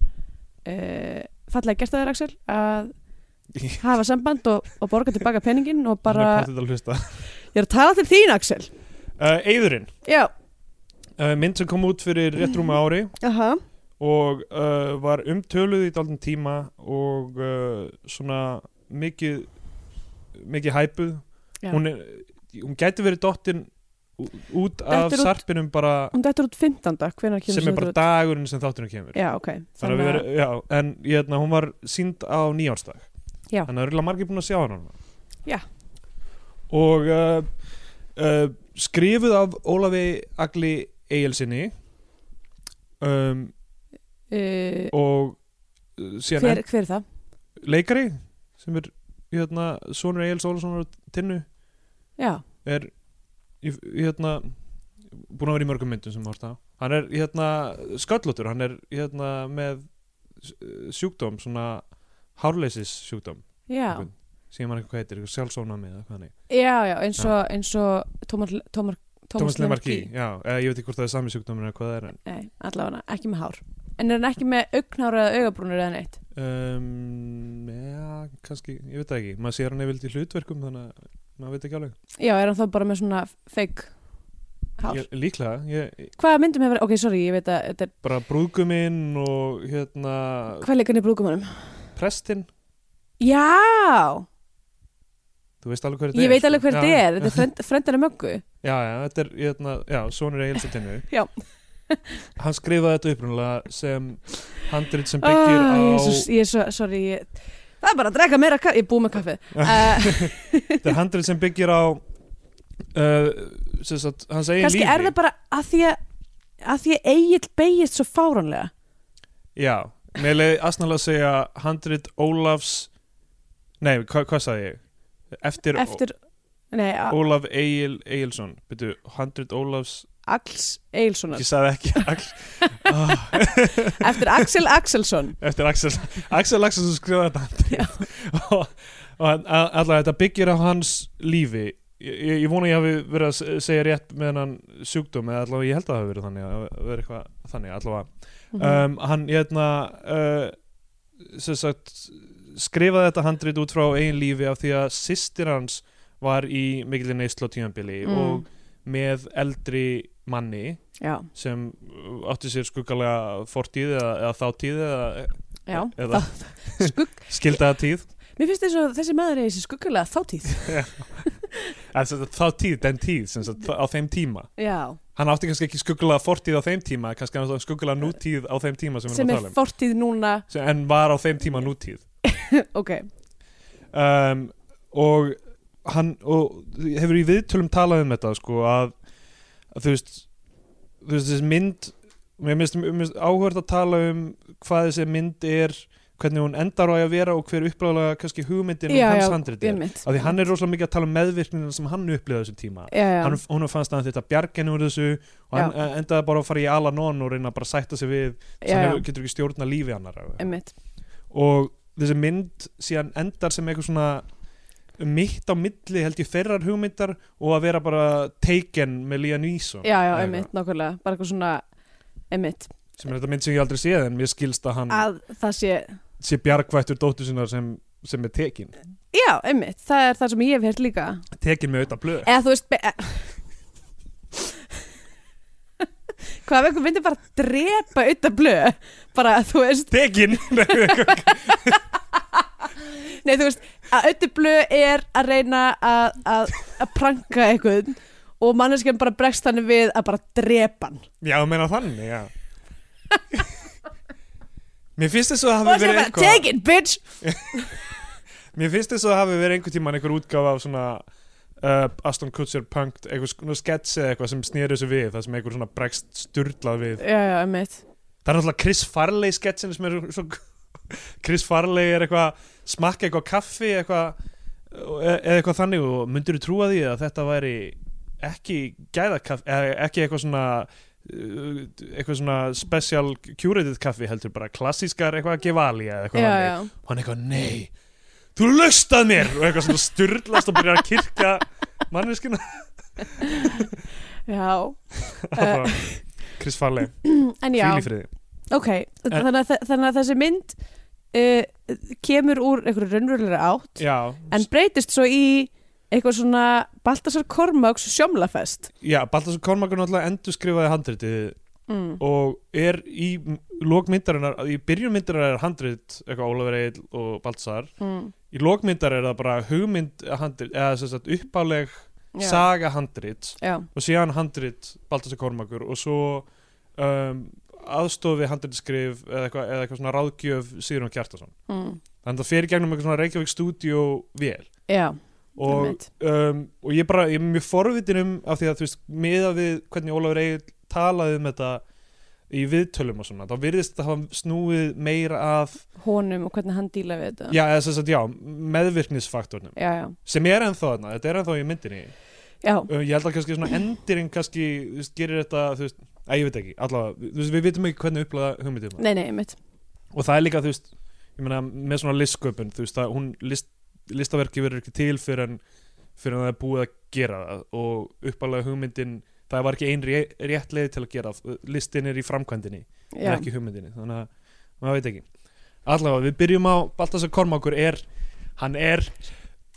uh, fallega gert að þér Axel að [laughs] hafa samband og, og borga tilbaka peningin og bara, hann er pottet að hlusta ég er að tala til þín Axel uh, Eðurinn já, Uh, uh, Eh, mynd sem kom út fyrir rétt rúma ári Aha. og uh, var umtöluð í daldin tíma og uh, svona mikið mikið hæpuð Já. hún, er, hún gæti verið dottin út af Dettur út- sarpinum bara Hún dættur út 15. Hvenær sem kemur er þetta bara út? dagurinn sem þáttunum kemur Já, ok. Þannig að við erum, já, en ég, hérna, hún var sínd á nýjársdag Já. Þannig að örugglega margir búin að sjá hann Já. Og uh, uh, skrifuð af Ólafi Agli Egilsinni um, Uh, og uh, síðan hver, hver er það? en- leikari sem er hérna, sonur Egils Ólafssonar og Tinnu Já, er í- í hérna búin að vera í mörgum myndum sem hórta hann er hérna sköllotur hann er hérna með s- sjúkdóm svona hárleysis sjúkdóm já. sem hann eitthvað heitir, eitthvað sjálfsónami eða hvað hann er Já, já, eins og, eins og Tómas, Tómas, Thomas Lemarki, já, eða ég veit ekki hvort það er sami sjúkdómur eða hvað það er en Nei, allavega, ekki með hár. En er hann ekki með augnára eða augabrúnur eða neitt? um, já, kannski, ég veit það ekki maður sér hann eða í hlutverkum þannig að maður veit ekki alveg Já, er hann þá bara með svona fake hár? ég, líklega, ég, Hvaða myndum hefur, ok, sorry, ég veit að þetta er, bara brúðguminn og hérna hvað leikarni brúkum honum? prestinn, Já, þú veist alveg hver þetta ég er veit alveg hver sko. þetta Já. er, þetta er frend, frendana möggu. Já, já, þetta er, ég hefna, já, Sónur Egilsa Tinnu Já. [laughs] Hann skrifaði þetta upprunalega sem handrit sem byggir Ah, á Ég er svo, ég er svo, sorry, ég, það er bara að drega meira kaffi, ég er búið með [laughs] kaffið. Uh, [laughs] Þetta er handrit sem byggir á uh, sem sagt, hans eigin kannski lífi er það bara að því að, að því að Egil beigist svo fáránlega. Já, mér leiði aðsnaðlega að segja handrit Ólafs Nei, hva, hvað sagði ég? Eftir, Eftir... Eftir, nei, a- Ólaf Egil Egilson Byrju, handrit Ólafs Agls Egilssonar. Ég sagði ekki [laughs] Axel ah, Eftir Axel Axelsson. Eftir Axel Axel Axel sem skrifaði þetta handrit og, og hann- a- allavega þetta byggir á hans lífi Ég, ég- ég vona ég hafi verið að se- segja rétt með hennan sjúkdóm eða allavega ég held að það hafi verið þannig að verið eitthvað þannig allavega [laughs] Mhm. um, hann hérna uh, sem sagt skrifaði þetta handrit út frá eigin lífi af því að systir hans var í mikilvæg neysla á tímanbili Mm. og með eldri manni Já, sem uh, átti sér skuggalega fortíð eða, eða þáttíð eða, e-, já. eða Þá- Skugg, skildaða tíð mér finnst þess að þessi maður er þessi skuggulega þáttíð. eða, sem sagt, þá tíð, den tíð sem sagt, á þeim tíma Já, hann átti kannski ekki skuggalega fortíð á þeim tíma kannski hann átti skuggalega nútíð á þeim tíma sem, sem við erum að er tala um fortíð núna, Sem- en var á þeim tíma nútíð [laughs] ok. um, og hann og hefur í viðtölum talað um þetta sko að, að þú veist þú veist þessi mynd mér finnst mér finnst áhört að tala um hvað þessi mynd er hvernig hún endar á að vera og hver uppræðlega kannski hugmyndin um Já, hans já, handrit er Einmitt. af því hann er rosalega mikið að tala um meðvirkningina sem hann upplýða þessum tíma Já, já. hann, hún fannst að hann þetta bjargen úr þessu og hann já. endaði bara að fara í Alanon og reyna bara að sætta sig við Já, sem hann já. hefur- getur ekki stjórna lífi annar Einmitt. og þessi mynd síðan endar sem eitthvað svona mitt á milli held ég þeirrar hugmyndar og að vera bara taken með Liam Neeson Já, já, Eða einmitt, nákvæmlega. Bara eitthvað svona, einmitt. eitthvað. sem er þetta mynd sem ég aldrei séð en mér skilst að hann Að það sé, sé bjargvættur dóttur sinnar sem, sem er tekin já, einmitt. Það er það sem ég hef hert líka. tekin með auðvitað blöð Eða þú veist, be- [laughs] e- hvað ef einhver myndi bara drepa auðvitað blöð? Bara, þú veist, tekin [laughs] Nei, þú veist, að auðviblu er að reyna að, að, að pranka einhvern og manneskjan bara bregst þannig við að bara drepa hann. já, þú meina þannig, [laughs] já Mér finnst þess að Og hafi það er verið bara, take it, bitch! Mér finnst þess að hafi verið einhver tíman einhver útgáfa af svona uh, Aston Kutcher punk, einhver svona sketch eða eitthvað sem snýri þessu við, það sem einhver svona bregst styrlað við Já, já, einmitt. Það er náttúrulega Chris Farley sketsin sem er svo, [laughs] Chris Farley er eitthvað smakka eitthvað kaffi eitthvað, e- eða eitthvað þannig og myndir þú trúa því að þetta væri ekki gæðakaffi eða ekki eitthvað svona uh, eitthvað svona special curated kaffi heldur bara klassískar eitthvað gevali eða Já, eitthvað þannig. já. og hann eitthvað nei þú lögst að mér og eitthvað svona styrlast og byrjar að kirkja [laughs] manneskina Já. Það var Chris Farley, En Eh. já, fíl í friði ok. Þannig að, þe- þannig að þessi mynd eh, uh, kemur úr einhverju raunverulega átt já, en breytist svo í eitthvað svona Baltasar Kormáks sjómlafest Já, Baltasar Kormakur náttúrulega endur skrifaði handritið mm. og er í lókmyndarinnar, í byrjun myndarinnar er handrit eitthvað Ólafur Egil og Baltasar Mm. í lókmyndar er það bara hugmynd eh, handrit, eða sem sagt uppáleg Já. saga handrit Já. og síðan handrit Baltasar Kormakur og svo um, aðstofi handritskrif eða eitthvað, eða eitthvað svona ráðgjöf Sigurinn Kjartason Mm. þannig að það fer í gegnum eitthvað svona Reykjavík stúdíó vel Já. og, Einmitt. um, og ég bara, ég er mjög forvitin um af því að þú veist, miða við hvernig Ólafur Egil talaði um þetta í viðtölum og svona, þá virðist það hafa snúið meira að, honum og hvernig hann díla við þetta já, eða sem sagt, já meðvirknisfaktornum, já, já, sem er ennþá þarna, þetta er ennþá í myndinni já, um, ég held að kannski svona endirinn kannski, þú veist, gerir þetta, þú veist að ég veit ekki, allavega, þú veist, við vitum ekki hvernig upplæða hugmyndið maður, nei, nei, mitt og það er líka, þú veist ég meina, með svona listsköpun, þú veist, að hún list, listaverki verður ekki til fyrir en fyrir en það er búið að gera það og uppalega hugmyndin, það var ekki ein ré- rétt leið til að gera, það. listin er í framkvæmdinni já, en ekki hugmyndinni, þannig að maður veit ekki, allavega, við byrjum á Baltasar Kormákur er, hann er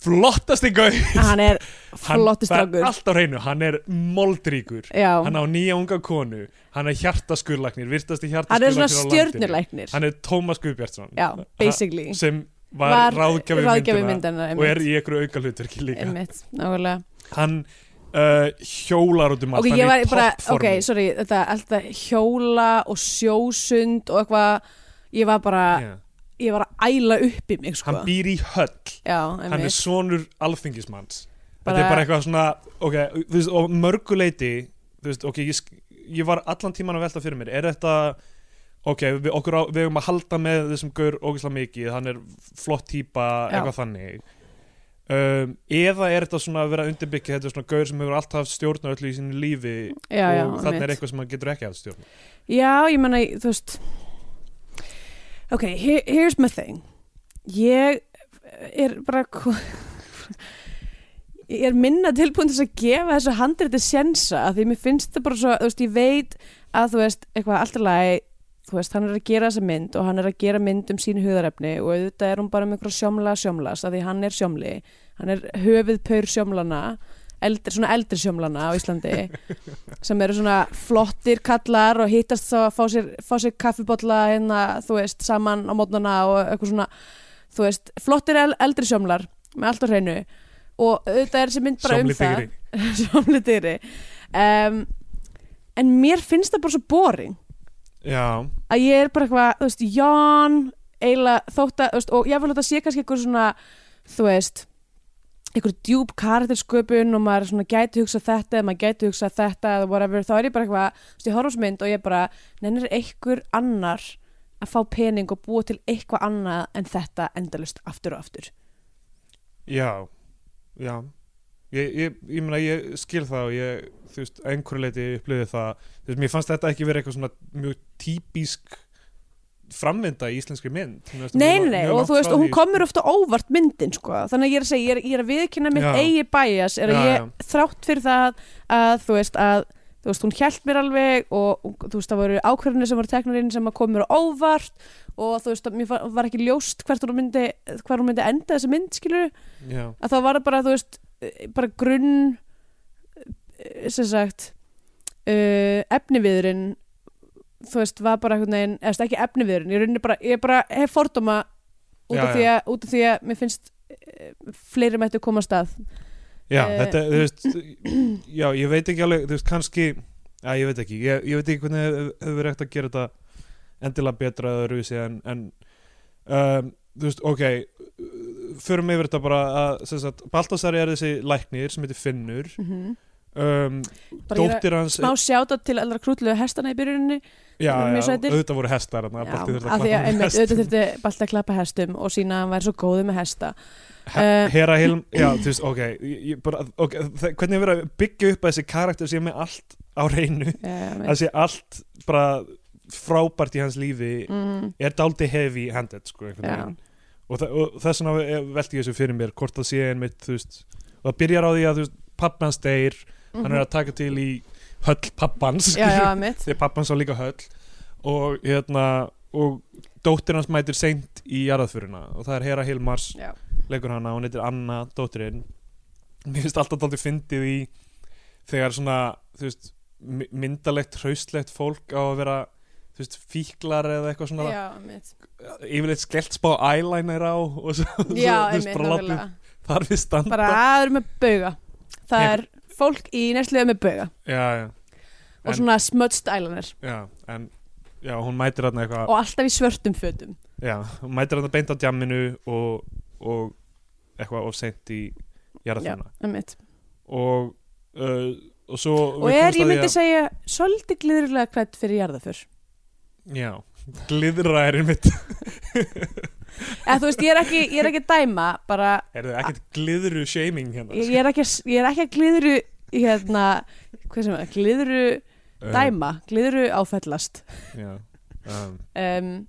flottasti gauð hann er flottist það er strákur allt á hreinu, hann er moldríkur já, hann á nýja unga konu hann er hjartaskurlagnir, virtasti hann er hjartaskurlagnir svona á landinu. stjörnulæknir hann er Tómas Guðbjartsson já, basically sem var, Var ráðgjafi ráðgjafi myndina myndana, og er í einhverju auka hlutverki líka einmitt, nákvæmlega hann uh, hjólar út um allt ok, ég hann var er í bara, ok, toppformi sorry þetta alltaf hjóla og sjósund og eitthvað, ég var bara yeah. ég var að æla upp í mig, sko hann býr í höll já, hann er einmitt, sonur alþingismanns þetta Bara- er bara eitthvað svona ok, þú veist, og mörguleiti þú veist, ok, ég, sk- ég var allan tíman að velta fyrir mér, er þetta ok, við, okkur á, við eigum að halda með þessum gaur ógislega mikið, hann er flott típa, Já. eitthvað þannig um, eða er þetta svona að vera að undirbyggja þetta er svona gaur sem hefur alltaf haft stjórn á öllu í sínu lífi já, já, og þannig einmitt. er eitthvað sem hann getur ekki að stjórna Já, ég menna, þú veist Ok, here, here's my thing Ég er bara ko- Ég er minna tilbúin til þess að gefa þessu handriti sjensa af því mér finnst það bara svo, þú veist, ég veit að þú veist, eitthvað allt í lagi þú veist, hann er að gera þessa mynd og hann er að gera mynd um sín huðarefni og auðvitað er hún bara með einhverja sjómla sjómlas af því hann er sjómli hann er höfuðpaur sjómlana eldri, svona eldri sjómlana á Íslandi sem eru svona flottir kallar og hittast þá að fá sér, fá sér kaffibotla hérna, þú veist, saman á mótnana og eitthvað svona, þú veist flottir el eldri sjómlar með allt á hreinu og auðvitað er þessi mynd bara um það [laughs] Sjómlidýri. sjómli dýri um, en mér finnst það bara svo boring já, að ég er bara eitthvað, þú veist, jón eiginlega þótt að, þú veist, og ég vil að þetta sé kannski einhver svona, þú veist einhver djúb karaktersköpun og maður svona gæti hugsa þetta eða maður gæti hugsa þetta eða whatever, þá er ég bara eitthvað þú veist, ég horf á þessu mynd og ég bara nennir einhver annar að fá pening og búa til eitthvað annað en þetta endalust aftur og aftur Já, já Ég, ég, ég meina, ég skil það og ég, þú veist, að einhverju leiti upplöði það, þú veist, mér fannst þetta ekki verið eitthvað svona mjög típísk framvinda í íslenskri mynd Mér fannst Nei, mjög- nei, nei, mjög og langt þú veist, frá og hún því. komur ofta óvart myndin, sko, þannig að ég er að segja, ég er, ég er að viðkynna mitt Já. eigi bæjas, er að Já, ég, þrátt fyrir það að, þú veist, að, þú veist, hún hjælt mér alveg og, og þú veist, það voru ákverðinni sem voru teknarinn sem að komur óvart og þú veist, að mér var, var ekki ljóst hvert hún myndi, hver hún myndi enda þessi mynd, skilur, Já, að þá var það bara, þú veist, eh, bara grunn, eh, sem sagt, uh, efniviðurinn, þú veist, var bara einhvern veginn, eða þú veist, ekki efniviðurinn, ég rauninni bara, ég bara hef fordóma út af, Já, því að, út af því að mér finnst eh, fleiri mættu koma að stað. já Eh, þetta, þú veist, já, ég veit ekki alveg, þú veist, kannski, að ég veit ekki, ég, ég veit ekki hvernig hefur hef hefur verið hægt að gera þetta endilega betra eða rúsi en, en um, þú veist, ok, förum yfir þetta bara að, sem sagt, Baltasari er þessi læknir sem heitir Finnur, Mm um, Bara gera dóttir hans smá sjáta til allra krútlega hestana í byrjuninni, já, sem eru mjög já, sætir. auðvitað voru hestar þarna, Já, Balti þurfti af því að, klappa einmitt, hestum. auðvitað þurfti Balti að klappa hestum og sína að hann væri svo góði með hesta. He- eh, Hera Hilm, já, þú veist, ok, ég, ég bara, okay það, hvernig er verið að byggja upp að þessi karakter sé með allt á reynu Uh, að sé allt bara frábært í hans lífi mm, er dálítið heavy handed sko, einhvern já, veginn. og, þa- og þess vegna eh, velti ég þessu fyrir mér hvort það sé einmitt, þú veist og það byrjar á því að, þú veist, pappans deyr hann er að taka til í höll pappans Mhm. já, já, mitt. því pappan sá líka höll og hérna og dóttir hans mætir seint í jarðaföruna og það er Hera Hilmars Já. leikur hana, hún heitir Anna, dóttirinn mér finnst alltaf daldið fyndið í þegar svona, þú veist my- myndalegt, hraustlegt fólk á að vera þú veist, fíklar eða eitthvað svona já, mitt yfirleitt skellt spá eyeliner á og svo, já, svo þú veist, einmitt, bara látið nákvæmlega þar við standa bara aður með bauga það Já. er fólk í næstlega með bauga já, já, og En- svona smudged eyeliner já, en já, hún mætir þarna eitthvað og alltaf í svörtum fötum Já, hún mætir hann að beint á djamminu og, og eitthvað of sent í já, jarðarfuna einmitt og, uh, og svo og er, ég myndi segja, svolítið glirurlega klætt fyrir jarðaför Já, glidra er einmitt eða þú veist, ég er ekki, ég er ekki að dæma bara, Er það ekkert glidru shaming hérna? ég, ég, er ekki, að s- ég er ekki að glirru hérna, hvað sem er, glirru Eh. dæma, glirru áfellast Uh, já, um, um,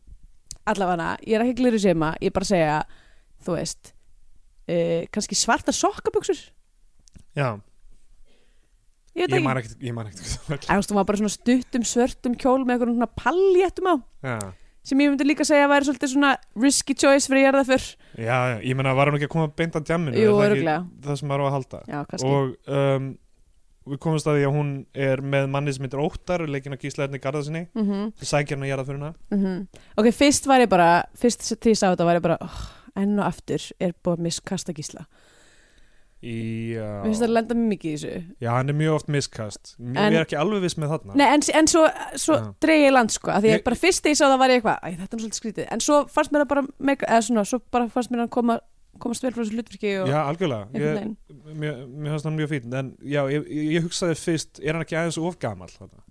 allavega ég er ekki að glirru sema, ég er bara að segja þú veist uh, kannski svarta sokkaböksur já ég veit ég ekki, man ekkert Ég man ekkert hvað það Æ, þú veist, hún var bara svona stuttum svörtum kjól með einhvern svona palljættum á var. Já, sem ég myndi líka að segja að væri svolítið svona risky choice fyrir jarðaför já, já, ég meina var hún ekki að koma beint á djamminu er Jú, það örugglega. ekki Það sem maður á að halda já, kannski, Og um, við komumst að því að hún er með manni sem heitir Óttar leikin að gísla hérna í garðasinni mhm sem sækir hann að jarðarfurina -hmm. Ok, fyrst var ég bara fyrst því ég sá þetta var ég bara oh, enn og aftur er búið að miskasta gísla Já Mér finnst það að lenda mjög mikið í þessu Já, hann er mjög oft miskast Mér En- er ekki alveg viss með þarna Nei, en, en svo, svo Já. dreig ég í land sko af Því ég Ég- bara fyrst því ég sá það var ég eitthvað Æ, þetta er nú svolítið skrítið En svo fannst mér það bara mega, eða svona, svo bara fannst mér hann koma komast vel frá þessu hlutverki og Já, algjörlega ég, einhvern veginn Mér mér fannst hann mjög fín En já, ég, ég ég hugsaði fyrst Er hann ekki aðeins of gamall þarna?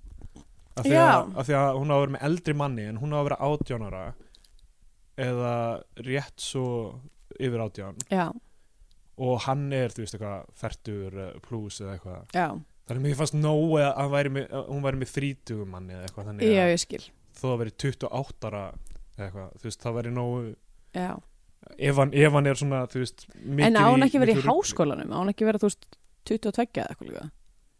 Af því, að, Já. af því að hún á að vera með eldri manni En hún á að vera átjónara Eða rétt svo Yfir átjón Já, Og hann er, þú veist eitthvað, fertur Plus eða eitthvað já, Þannig að mér fannst nóg að hann væri með, að hún væri með frítugum manni eða eitthvað já, Þannig já, að ég skil þó að veri 28 ára eða eitthvað, þú veist, það væri nógu já. ef hann, ef hann er svona, þú veist mikið En á hún í- ekki verið í miklu rugli. háskólanum á hún ekki verið, þú veist, 22 eða eitthvað líka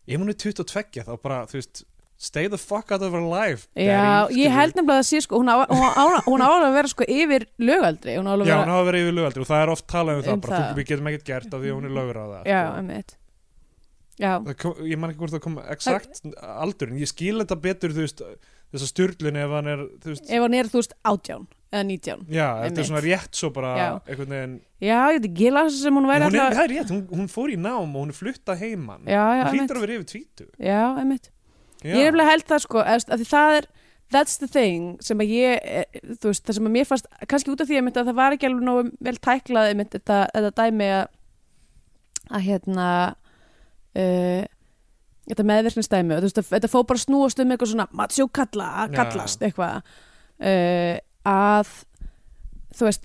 ef hún er 22 þá bara, þú veist stay the fuck out of her life Já, daddy, ég skilur. held nefnilega að það sé sko, hún á, hún á, hún á, hún á alveg að vera sko yfir lögaldri, hún á alveg já, hún að vera, hafa verið yfir lögaldri og það er oft talað um, Um það, bara, það. þú, við getum ekkert gert af því að hún er lögur á það já, um- emmitt. Já, Það kom, ég man ekki hvort það kom exakt aldur en ég skil þetta betur, þú veist þessa styrlun ef hann er, þú veist ef hann er þú veist átján eða nítján. já, þetta Einmitt. er svona rétt svo bara Já. einhvern veginn, Já, ég veit ekki, ég las sem hún hún væri er, alltaf, það er rétt, hún, hún fór í nám og hún er flutta heiman já, já, hún hlýtur emmitt, að vera yfir tvítu já, emmitt. Ég er nefnilega held það sko, eðst, að því það er, that's the thing sem að ég, eh, þú veist, það sem að mér fannst, kannski út af því einmitt að það var ekki alveg nógu vel tæklað einmitt þetta, þetta dæmi að, að hérna, uh, þetta meðverkningsdæmi og þú veist, að- þetta fór bara að snúast um eitthvað svona matsjó kalla, að Já. kallast eitthvað uh, að þú veist,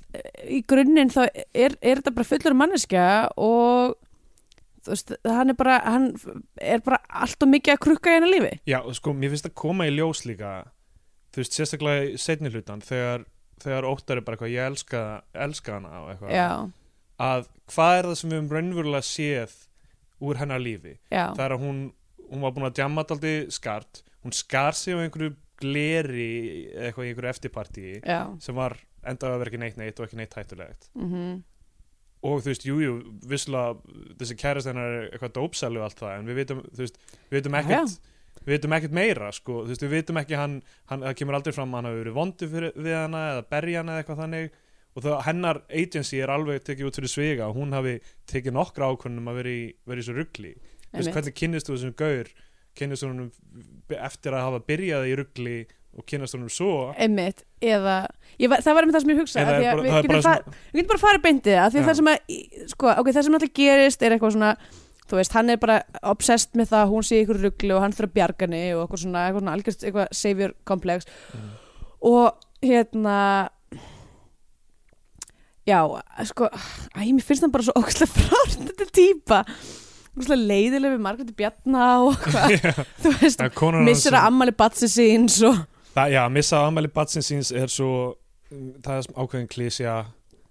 í grunninn þá er, er þetta bara fullur manneskja og þú veist, hann er bara, hann er bara allt og mikið að krukka í hennar lífi Já, og sko, mér finnst það koma í ljós líka þú veist, sérstaklega í setni hlutan þegar, þegar óttar er bara eitthvað ég elska, elska hana og eitthvað já, að hvað er það sem við höfum raunverulega séð úr hennar lífi já, það er að hún, hún var búin að djamma daldi skart, hún skar sig á einhverju gleri eða eitthvað í einhverju eftirpartíi já sem var endaði að vera ekki neitt neitt og ekki neitt hættulegt mm og þú veist, jújú, jú, visslega þessi kærast hennar er eitthvað dópsælu og allt það, en við vitum, þú veist, við vitum Já, ekkert við vitum ekkert meira, sko, þú veist, við vitum ekki hann, hann það kemur aldrei fram að hann hafi verið vondu fyrir, við hana eða berja hana eða eitthvað þannig og það, hennar agency er alveg tekið út fyrir sviga og hún hafi tekið nokkra ákvörnum að vera í, vera í svo ruggli þú veist, einmitt, hvernig kynnist þú þessum gaur kynnist þú honum eftir að hafa byrjað í ruggli og kynnast honum svo einmitt eða, ég, var- það var einmitt það sem ég hugsa Eða að er því að bara- við það er getum bara far- við getum bara farið beintið það, af því að Já. það sem að í- sko, ok, það sem alltaf gerist er eitthvað svona þú veist, hann er bara obsessed með það að hún sé í ykkur rugli og hann þurfa bjargani og eitthvað svona, eitthvað svona algjörst eitthvað savior komplex Mm. og hérna já, sko æ, mér finnst hann bara svo ókslega [laughs] frárt þetta típa, ókslega leiðileg við Margreti Bjarna og hvað [laughs] þú veist, En konan hans missir að ammali batsi síns og Það, já, að missa af afmæli batsins síns er svo um, það er sem ákveðin klísja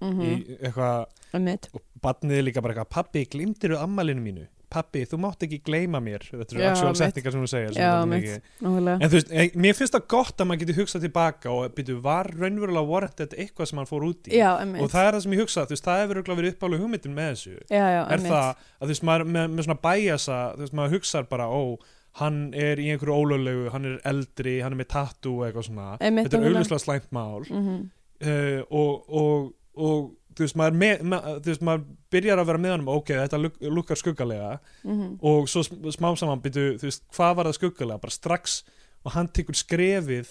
mm í eitthvað, -hmm. og batnið er líka bara eitthvað pappi, glimtirðu ammælinu mínu pappi, þú mátt ekki gleyma mér þetta eru Já, actual mitt. settingar sem hún segir sem Já, þetta er mitt. mikið- náðulega en þú veist, eh, mér finnst það gott að maður geti hugsað tilbaka og byrju, var raunverulega warranted eitthvað sem hann fór út í Já, og emmitt það er það sem ég hugsa, þú veist, það hefur örugglega verið uppálega hugmyndin með þessu Já, já, er það að þú veist maður með, með svona bæjasa þú veist maður hugsar bara ó hann er í einhverju ólöglegu, hann er eldri hann er með tattoo og eitthvað svona Einmitt, þetta er nákvæmlega. auðvitað slæmt mál mm uh, og, og, og þú veist maður, með, ma, þú veist maður byrjar að vera með honum ok, þetta luk, lukkar skuggalega mhm. og svo sm- smám saman byrju, þú veist, hvað var það skuggalega bara strax og hann tekur skrefið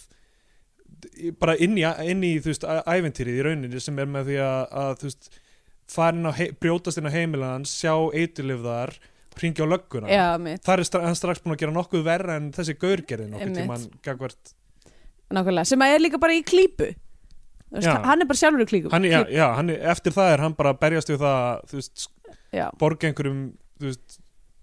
d- í- bara inn í, inn í þú veist, æ- ævintýrið í rauninni sem er með því að, að þú veist, farin á hei, brjótast inn á heimilans, sjá eitilifðar, hringja á lögguna Já, emmitt þar er stra hann strax búin að gera nokkuð verra en þessi gaurgerði nokkuð Einmitt. tímann gagvart Nákvæmlega, sem að er líka bara í klípu Þú veist, Já. Hann er bara sjálfur í klípu hann, já, já, hann, er- eftir það er hann bara að berjast við það að, þú veist, já borga einhverjum þú veist,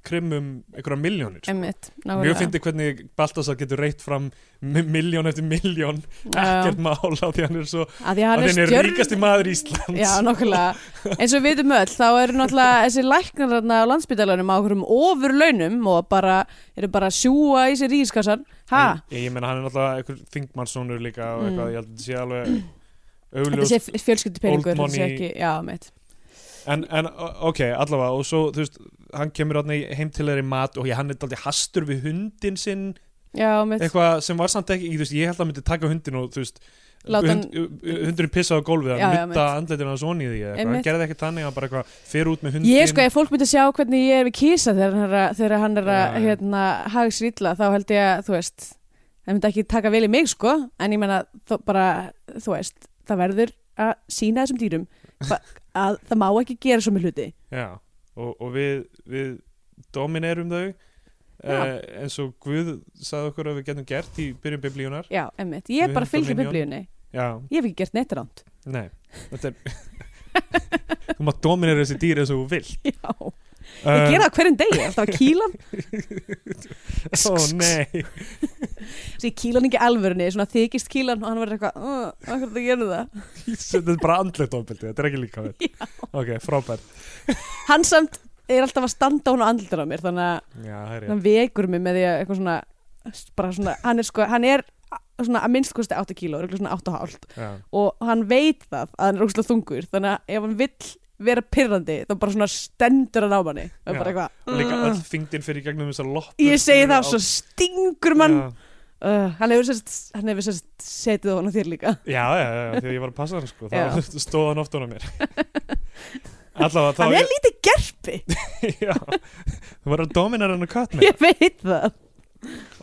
krimmum einhverja miljónir Emmitt, nákvæmlega Mjög fyndi hvernig Baltasar getur reytt fram mi- miljón eftir miljón ekkert mál á því hann er svo Að því að að hann er hann er stjörn ríkasti maður Íslands Já, [laughs] nokkulega. Eins og við vitum öll, þá eru náttúrulega þessi læknar þarna á landsbytalanum á okkurum ofurlaunum og bara, eru bara að sjúa í sér ríkiskassan. Ha? Ég, ég menna hann er náttúrulega einhver þingmannssonur líka og Mm. eitthvað, ég held að þetta sé alveg Þetta augljós sé fjölskyldupeningur, old þetta sé money. ekki, já, mitt. en, en o- ok, allavega og svo, þú veist, hann kemur hann heim til þeirri mat og ég, hann er daldið hastur við hundin sinn Já, mitt. eitthvað sem var samt ekki, þú veist, ég held að hann myndi taka hundin og þú veist Láta hann- hund, uh, hundurinn pissa á gólfið Já, já, hann nutta andleitin hans onni í því eða eitthvað, Einmitt. hann gerði ekki þannig hann bara eitthvað fer út með hundin Ég sko, ef fólk myndi að sjá hvernig ég er við kísa þegar hann er að, þegar hann er að Já, já. hérna, haga sér illa, þá held ég að, þú veist, það myndi ekki taka vel í mig, sko, en ég menna, þó, bara, þú veist, það verður að sína þessum [laughs] dýrum hva- að það má ekki gera svo með hluti. Já, og, og við, við dominerum þau uh, Já. eins og Guð sagði okkur að við getum gert í byrjun biblíunar Já, emmitt, ég Við bara höndum fylgir Minion. biblíunni. Já, Ég hef ekki gert neitt rámt. nei Þetta er [laughs] Þú maður dominera þessi dýr eins og þú Um, vill Já. Ég gera það hverjum degi, alltaf að [laughs] kýla [laughs] hann. Ó nei [laughs] Þessi kýla hann ekki í alvörunni, svona þykist kýla hann og hann verður eitthvað, "Ugh, af hverju það gerir það? Þetta er bara andlegt ofbeldi, þetta er ekki [laughs] líka vel Ok, frábært Hann samt er alltaf að standa hún og andlutur á mér, þannig að Já, það er hann vekur mig með því að eitthvað svona, bara svona, hann er sko, hann er svona að minnst kosti 8 kíló, örugglega svona 8 og hálft ég og hann veit það að hann er ógstlega þungur, þannig að ef hann vill vera pirrandi, þá bara svona stendur hann á manni og Já. bara eitthvað, Og líka "Ugh." öll þingdin fyrir í gegnum þessar loppur Mm. ég segi sem eru það á- svo stingur mann Já. Uh, hann hefur sérst, hann hefur sérst setið á hann og þér líka Já, já, já, já, því að ég var að passa hann sko Já. Það [laughs] stóð hann oft á [laughs] mér Allavega þá Hann er lítið gerpi, [laughs] Já, þú verður að dominera hennar kött með [laughs] ég veit það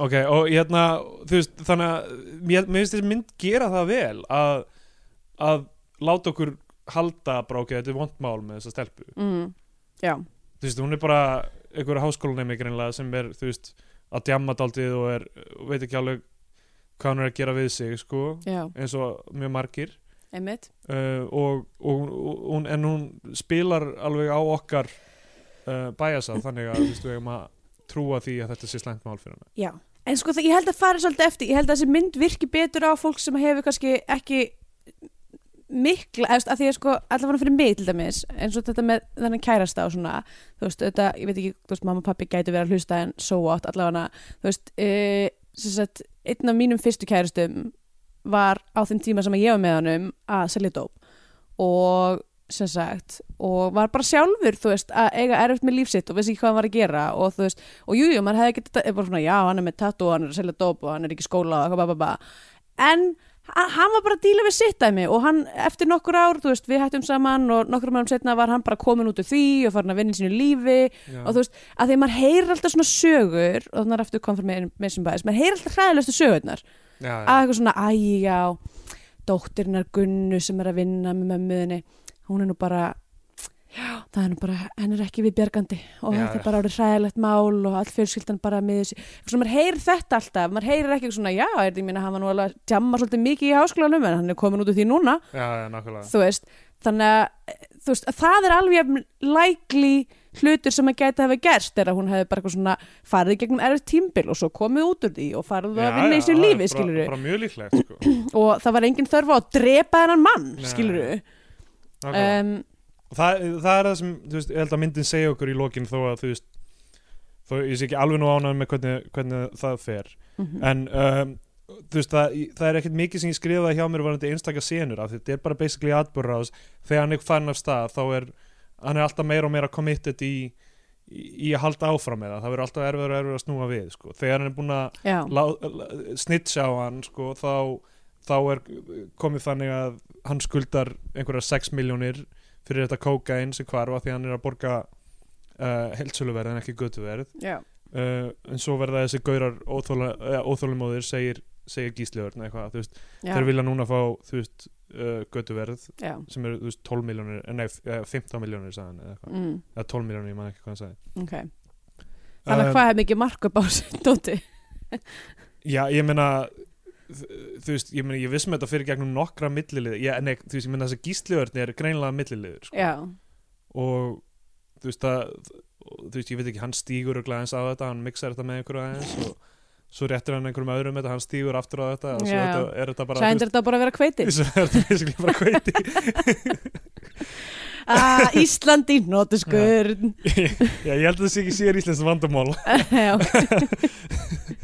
Ok, og hérna, þú veist, þannig að mér mér finnst þessi mynd gera það vel að, að láta okkur halda bara, ok, þetta er vondmál með þessa stelpu mm. Já, Þú veist, hún er bara einhverja háskólanemi greinlega sem er, þú veist, að djamma daldið og er, og veit ekki alveg hvað hún er að gera við sig, sko já, eins og mjög margir einmitt uh, og, og, og hún, en hún spilar alveg á okkar uh, bæjasa þannig að þú veist, við eigum að trúa því að þetta sé slæmt mál fyrir hana Já, en sko það, ég held að fara svolítið eftir Ég held að þessi mynd virki betur á fólk sem hefur kannski ekki mikla, eða þú veist, að því að sko allavega fyrir mig til dæmis, eins og þetta með þennan kærasta og svona, þú veist, þetta ég veit ekki, þú veist, mamma og pappi gætu verið að hlusta en so what, allavega, þú veist uh, sem sagt, einn af mínum fyrstu kærastum var á þeim tíma sem ég var með honum að selja dóp og sem sagt og var bara sjálfur, þú veist, að eiga erfitt með lífsitt og vissi ekki hvað hann var að gera og þú veist, og jújú, jú, maður hefði ekki þetta, bara svona, já, hann er með tattoo, hann er að selja dóp og hann er ekki í skóla og eitthvað, bá, bá, bá en ha- hann var bara að díla við sitt dæmi og hann, eftir nokkur ár, þú veist, við hættum saman og nokkur mörgum setna var hann bara komin út úr því og farin að vinna í sínu lífi Já. og þú veist, að því að maður heyrir alltaf svona sögur og þannig er eftir confirmation bias, maður heyrir alltaf hræðilegustu sögurnar já, já. að eitthvað svona, æ, já dóttirinnar Gunnu sem er að vinna með mömmuðinni, hún er nú bara já, það er nú bara henn er ekki við bjargandi og Já, þetta já. er bara orðið hræðilegt mál og all fjölskyldan bara með þessi, eitthvað svona, maður heyrir þetta alltaf maður heyrir ekki svona, já, er þetta, ég meina hann var nú alveg að djamma svolítið mikið í háskólanum en hann er komin út úr því núna Já, já, nákvæmlega þú veist, þannig að þú veist, að það er alveg lækli hlutur sem að gæti hafa gerst er að hún hefði bara eitthvað svona farið í gegnum erfitt tímbil og svo komið út úr því og farið að vinna í það er sér lífi, bara- skilur Bara mjög líklegt, sko og það var engin þörf á að drepa hennan mann Nei. skilur við Nákvæmlega. um, Og það, það er það sem, þú veist, ég held að myndin segja okkur í lokin þó að, þú veist þó ég sé ekki alveg nú ánægð með hvernig, hvernig það fer Mhm. en um, þú veist það, það er ekkert mikið sem ég skrifaði hjá mér varandi einstaka senur af því þetta er bara basically atbúrrás þegar hann er farin af stað þá er hann er alltaf meira og meira committed í, í, í að halda áfram með það það verður alltaf erfiður og erfiður að snúa við sko. þegar hann er búin að já, lá- lá- snitcha á hann sko, þá, þá er komið þannig að hann skuldar einhverja 6 miljónir fyrir þetta kókain sem hvarfa því að hann er að borga uh, heldsöluverð en ekki götuverð já, uh, en svo verða þessi gaurar óþólumóðir segir, segir gísliðurna eitthvað, þú veist, já, þeir vilja núna fá þú veist, uh, götuverð já. sem sem eru þú veist, 12 miljónir, eh, nei, f- eh, 15 miljónir sagðan, eða, eitthvað. mm, eða 12 miljónir, ég man ekki hvað hann sagði ok þannig að Um, hvað er mikið markup á sér dóti Já, ég meina þ- þú veist, ég meina, ég vissum þetta fyrir gegnum nokkra millilið, já, nei, þú veist, ég meina þessi gísliðurni er greinlega milliliður, sko já, og þú veist að þú veist, ég veit ekki, hann stígur og aðeins á þetta, hann mixar þetta með einhverju aðeins og svo réttir hann einhverjum öðrum þetta, hann stígur aftur á þetta og svo Já. þetta, er þetta bara svo þú hendur þetta bara að vera kveiti [laughs] Þessu er þetta basically bara kveiti [laughs] ah, Íslandi, notuskurn Já, ég held að það sé ekki sér íslenskt vandamál [laughs] uh, [laughs] já,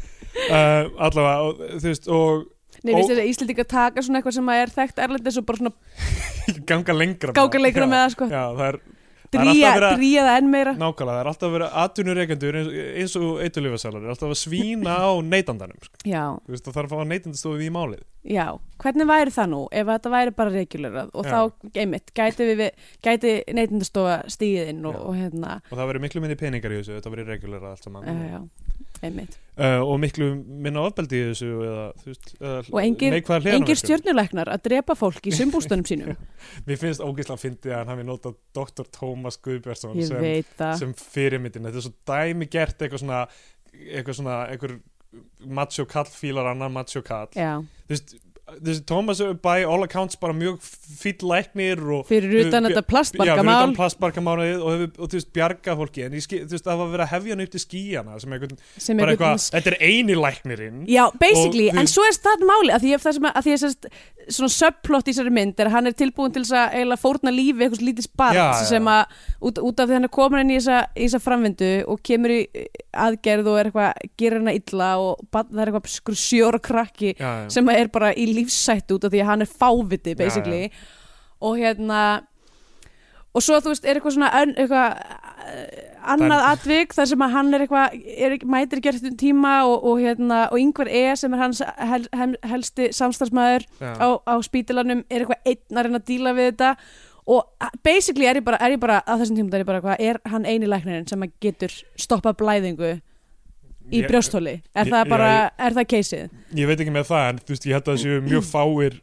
Allavega, og, þú veist, og Nei, Ó- finnst þér að Íslandingar taka svona eitthvað sem að er þekkt erlendis og bara svona ganga lengra bara. gáka leikra Já, með það sko Já, það er það er alltaf dríja, verið að- dríja það enn meira nákvæmlega, það er alltaf að vera atvinnureikendur eins, eins og eitulífasalar, alltaf að svína á neytandanum, sko. já, þú veist, það þarf að fá neytandastofið í málið já, hvernig væri það nú ef þetta væri bara regulerað Já. og þá, einmitt, gæti við gæti neytindastofa stíðin og, Já. og hérna, og það verið miklu minni peningar í þessu, þetta verið regulera allt saman já, já, einmitt uh, og miklu minna ofbeldi í þessu eða, þú veist, uh, og engir, neikvæðar hliðarverkanir. engir stjörnuleiknar að drepa [laughs] fólk í sumbústunum sínum Mér finnst ógislega fyndið að hann hafi notað Dr. Thomas Guðbjörnsson ég sem, veit það sem fyrirmyndin þetta er svo dæmi gert eitthvað svona eitthvað svona, einhver macho kall fílar annan macho kall já, þú veist, þessi Thomas er by all accounts bara mjög fýll læknir og fyrir utan Bjö- Já, fyrir þetta utan plastbarkamál plastbarkamálið og, hefur- og þú veist, bjarga fólki en ég skil, þú veist, það var verið að hefja hann upp til skíjana sem einhvern, sem bara einhvern- eitthvað, þetta er eini læknirinn Já, basically, Og þú- en svo er það máli að því að það sem að, að því að sérst, svona subplot í þessari mynd er að hann er tilbúin til þess að eiginlega fórna lífi eitthvað lítið Já, barn já. sem að út, út af því að hann er komin inn í þessa, í þessa framvindu og kemur í eh, aðgerð og er eitthvað gerir hana illa og barn, það er eitthvað skur sjóra krakki já, já. sem að er bara í lífsættu út af því að hann er fáviti basically og hérna og svo þú veist er eitthvað svona ön, eitthvað eh, annað atvik þar sem að hann er eitthvað er, mætir gert um tíma og, og hérna og yngvar E sem er hans hel, hel, helsti samstarfsmæður Já. á, á spítalanum er eitthvað einn að reyna að díla við þetta og a- basically er ég bara, er ég bara að þessum tíma er ég bara hvað er hann eini læknirinn sem að getur stoppa blæðingu í Ég- brjósthóli er Ég- það já, bara, er það keisið ég veit ekki með það en þú veist, ég held að það séu mjög fáir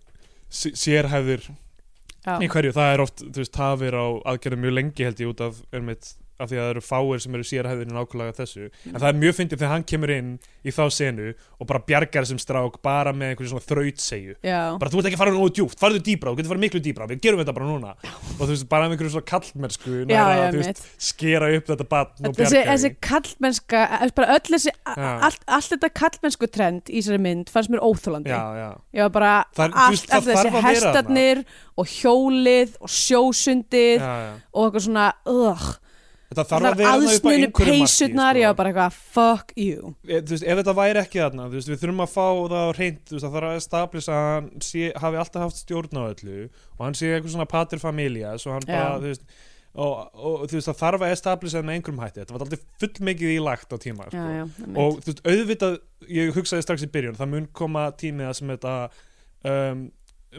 s- sérhæfðir Já. í hverju, það er oft, þú veist, tafir á aðgerðum mjög lengi held ég út af, einmitt, af því að það eru fáir sem eru sérhæfðir í nákvæmlega þessu Mm. en það er mjög fyndið þegar hann kemur inn í þá senu og bara bjargar sem strák bara með einhverju svona þrautsegu Já, bara þú ert ekki að fara nógu djúpt, farðu dýbra, þú getur farið miklu dýbra við gerum þetta bara núna og þú veist, bara með einhverju svona kallmersku já, nær já, að, þú veist, mitt skera upp þetta batn og þessi, bjarga þessi því. kallmennska eh, bara öll þessi, Já. allt, allt þetta kallmennsku trend í þessari mynd fannst mér óþólandi já, já, ég var bara, Það er- þú allt, veist, það allt þessi þarf að vera þarna. hestarnir og hjólið og sjósundið já, já. og eitthvað svona, ugh Þetta þarf það að vera þarna upp að aðsnunu einhverju marki, peysurnar, sko. ég var bara eitthvað fuck you, e, þú veist, ef þetta væri ekki þarna þú veist, við þurfum að fá það á reynd þú veist, það þarf að establisa að hann sé, hafi alltaf haft stjórn á öllu og hann sé eitthvað svona pater familia svo hann bara, Já. þú veist og, og þú veist, það þarf að establisa það með einhverjum hætti þetta var aldrei fullmikið í lagt á tíma já, sko. já, einmitt. og þú veist, auðvitað, ég hugsaði strax í byrjun það mun koma tímið sem þetta um,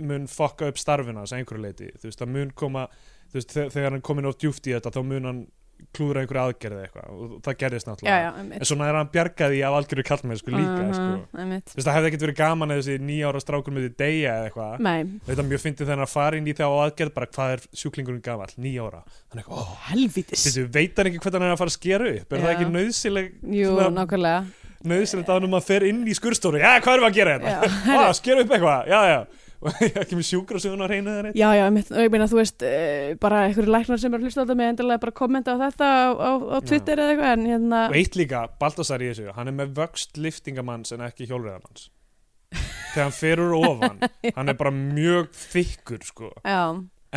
mun fokka upp starfina sem einhverju leiti, þú veist, það mun koma þú veist, þe- þegar hann komin á djúft í þetta þá mun hann klúra einhverju aðgerði eitthvað og það gerðist já, náttúrulega já, en einmitt svona er hann bjargaði af algjöru kallmenn sko líka sko. Aha, einmitt. Þú veist, það hefði ekkert verið gaman að þessi nýja ára strákur myndi deyja eða eitthvað Nei, þetta er mjög fyndið þegar hann fari inn í það á aðgerð bara hvað er sjúklingurinn gamall, nýja ára hann er eitthvað, oh, helvitis þessi veit hann ekki hvernig hann er að fara að skera upp er það Já. ekki nauðsileg Jú, nákvæmlega nauðsilegt að hann um að fer inn í skurstofu já, hvað erum við að gera [laughs] Já, hérna, ah, skera upp eitthvað já, [laughs] já, og ekki með sjúkrasugun á reynu þeirri Já, já, einmitt. og ég meina, þú veist, eh, bara einhverju læknar sem er að hlusta á þetta með endilega bara kommenta á þetta á, á, á Twitter eða eitthvað, en hérna, og eitt líka, Baltasar í þessu hann er með vöxt liftingamanns en ekki hjólreðamanns [laughs] þegar hann ferur ofan hann er bara mjög þykkur sko já,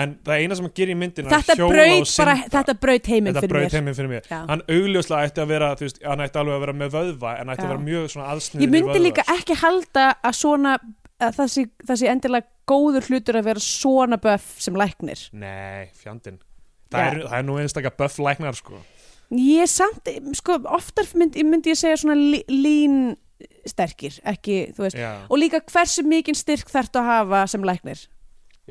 en það eina sem hann gerir í myndin er að þetta hjóla og braut, bara, synda. þetta braut heiminn þetta fyrir braut mér heiminn fyrir mér Já. hann augljóslega ætti að vera, þú veist, hann ætti alveg að vera með vöðva en ætti Já. að vera mjög svona aðsniður ég myndi líka ekki halda að svona að það sé, það sé endilega góður hlutur að vera svona böf sem læknir nei, fjandinn Já. það, er, það er nú einstakka buff læknar sko ég samt, sko, oftar myndi, myndi ég segja svona lí- lín sterkir, ekki, þú veist já, og líka hversu mikinn styrk þarftu að hafa sem læknir,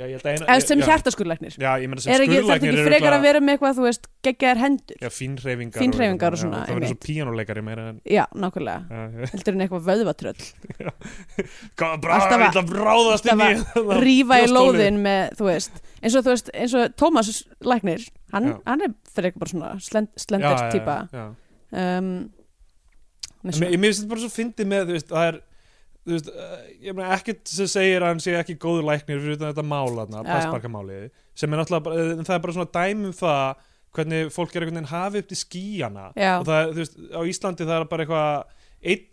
já ég held að eina eða sem Eh, já, hjartaskurlæknir já, ég meina sem er ekki, þarftu skurðlæknir ekki eru frekar örugglega- að vera með eitthvað, þú veist, geggjaðar hendur já, fínhreyfingar Fínhreyfingar og svona, já, það verður einmitt. svo píanuleikari meira en já, nákvæmlega, heldur en eitthvað vöðvatröll hvað bra, Alltaf ég að- ætla að ráðast inn í það. rífa í brjóstholið. lóðin með, þú veist eins og, þú veist, eins og Tómas Læknir hann, Já. hann er fyrir eitthvað bara svona slend, Já, slendir já, típa já. um, með En Mér svona- mér finnst þetta bara svo fyndið með, þú veist, það er þú veist, uh, ég meina ekkert sem segir að hann sé ekki góður læknir fyrir utan þetta málaðna, Já, já. passparkamálið sem er náttúrulega, bara, en það er bara svona dæmi um það hvernig fólk er einhvern veginn hafi upp til skíjana Já. og það, er, þú veist, á Íslandi það er bara eitthvað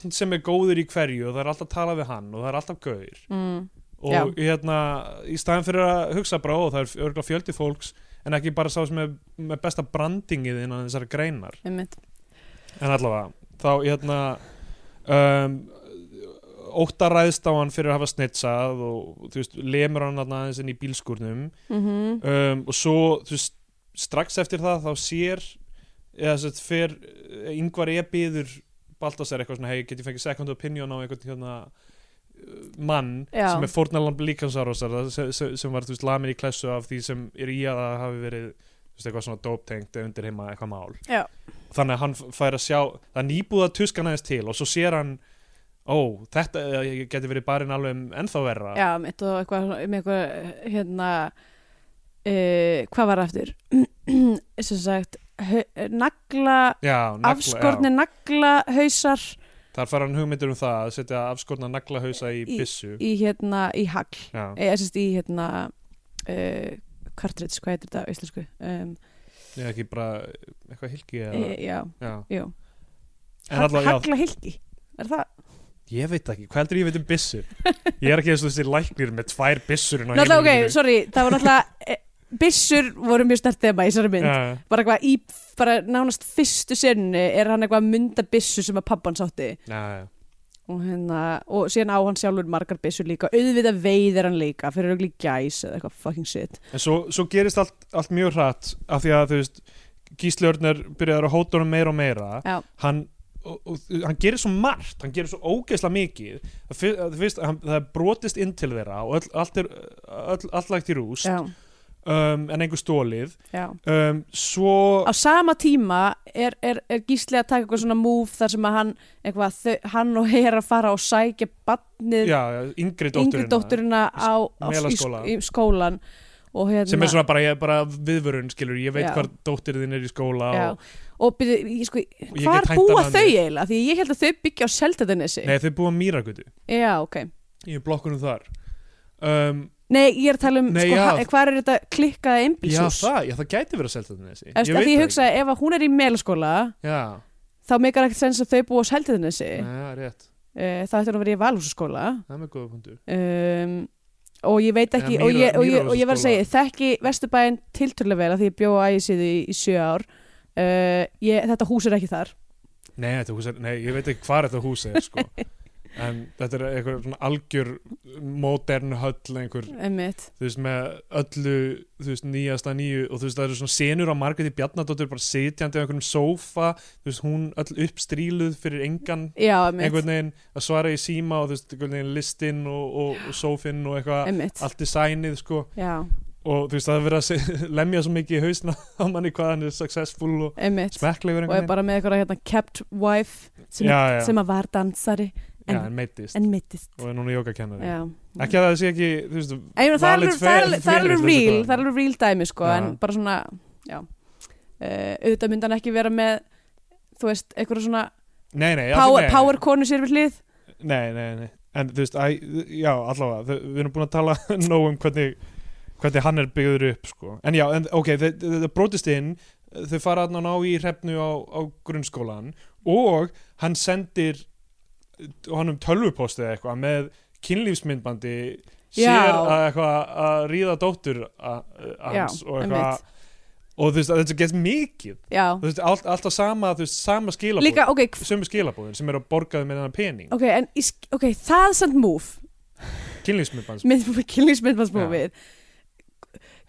einn sem er góður í hverju og það er alltaf að tala við hann og það er alltaf gaur mm, og Já. hérna, í staðan fyrir að hugsa bara, ó, það er örgulega fjöldi fólks en ekki bara sá sem er með besta brandingið innan þessari greinar einmitt. En allavega, þá hérna um, Óttar ræðst á hann fyrir að hafa snitsað og þú veist, lemur hann þarna aðeins inn í bílskúrnum Mhm. um, og svo, þú veist, strax eftir það þá sér eða þess að fer eh, yngvar ebiður Baltasar eitthvað svona, hei, get ég fengið second opinion á einhvern hérna uh, mann Já. sem er fórnalamb líkansárásar það sem, sem- sem var, þú veist, lamin í klessu af því sem er í að það hafi verið þú veist, eitthvað svona dóptengt undir heima eitthvað mál Já. þannig að hann f- fær að sjá það er nýbúða tuskan aðeins til og svo sér hann ó, þetta eh, geti verið barinn alveg ennþá verra já, mitt og eitthvað svona- með eitthvað hérna uh, hvað var það aftur [clears throat] sem sagt hö- nagla, já, nagla- afskorni nagla hausar já. þar fær hann hugmyndir um það að setja afskorna naglahausa í, Í- byssu í hérna, í hagl já, eða sem sagt í hérna uh, kartrits, hvað heitir þetta á íslensku um, ég ekki bara eitthvað hilki já, eða, já, já. já. en allavega, já, hagla hilki er það? ég veit ekki, hvað heldur ég veit um byssu ég er ekki eins og þessi læknir með tvær byssur inn á Náttúrulega, heimilinu ok, mínu. sorry, það var náttúrulega eh, byssur voru mjög stert þema í þessari mynd já, bara eitthvað í, bara nánast fyrstu senni er hann eitthvað að mynda byssu sem að pappan sátti já, já. og hérna, og síðan á hann sjálfur margar byssur líka, auðvitað veiðir hann líka fyrir auðvitað gæs eða eitthvað fucking shit En svo, svo gerist allt, allt mjög hratt af því að þú veist Gísli Örnir byrjaður að hóta honum meira og meira Já. hann, og, og, hann gerir svo margt hann gerir svo ógeðslega mikið það, fyr, það, fyrst, hann, það er brotist inn til þeirra og öll, allt er öll, allt lagt í rúst já, um, en einhver stólið já um, svo á sama tíma er, er, er Gísli að taka eitthvað svona move þar sem að hann, eitthvað, þau, hann og heyra að fara og sækja barnið já, já, yngri dótturina, yngri dótturina á, á í, Melaskóla. sk- í skólan og hérna sem er svona bara, ég, bara viðvörun skilur, ég veit Já. hvar dóttir þín er í skóla já, og, og byrju, ég sko, get hvar hænt búa hana niður. þau eiginlega því ég held að þau byggja á Seldanessi nei þau búa mýragutu já, ok í blokkunum þar um, nei, ég er að tala um, Nei, sko, já. ha- hvað er þetta klikkaða já, einbilshús það, já það gæti verið að selta þenni þessi Eftir, því ég hugsa ef að hún er í melaskóla já, þá meikar ekkert sens að þau búa á Seldanessi já, rétt uh, það ætti hún að vera í valhúsaskóla Það er með góða punktu. um, og ég veit ekki Eða og, ég, Mýrar- og, ég, og ég var Mýrarhúsaskóla. að segja, ég þekki Vesturbæinn tilturlega vel að því ég bjóði á ægisíðu í, í sjö ár uh, ég, þetta hús er ekki þar Nei, þetta hús er, nei, ég veit ekki hvað þetta hús er, [laughs] sko. en þetta er eitthvað svona algjör modern höll einhver, einmitt, þú veist, með öllu, þú veist, nýjasta nýju og þú veist, það eru svona senur á Margréti Bjarnadóttur bara sitjandi á einhverjum sófa, þú veist, hún öll uppstríluð fyrir engan já, einmitt, einhvern veginn að svara í síma og þú veist, einhvern veginn listinn og, og, og sófinn og eitthvað, einmitt. allt designið, sko. já, Og þú veist, það er verið að se- [laughs] lemja svo mikið í hausna á manni hvað hann er successful og einmitt smekklegur og er einhvern veginn. bara með eitthvað hérna kept wife sem, Já, já. sem að var dansari en- Já, en meittist. en mittist og er núna jógakennari já. ekki að það sé ekki, þú veist En ég meina, það er valid alveg- það er fe- alveg- það er fyrir alveg þessu real hvað. það er alveg real dæmi sko Já. en bara svona já, uh, auðvitað myndi hann ekki vera með þú veist, eitthvað svona nei, nei, alls power, ekki, power konu sér við hlið nei, nei, nei, nei. en þú veist, æ, já, allavega þau- við erum búin að tala [laughs] nóg um hvernig hvernig hann er byggður upp, sko en já, en, ok, þau- þau þau brotist inn þau fara að ná í hrefnu á, á grunnskólan og hann sendir honum tölvupostið eitthvað með kynlífsmyndbandi Já. sér að eitthvað að ríða dóttur a- hans og eitthvað einmitt. og þú veist að þetta gett mikið Já. þú veist allt, allt á sama þú veist sama skilabóð Líka, ok, hv- sömu skilabóðin sem eru að borgaði með þennan pening ok, en í sk- ok, það er samt move, kynlífsmyndbans, kynlífsmyndmannsmófið.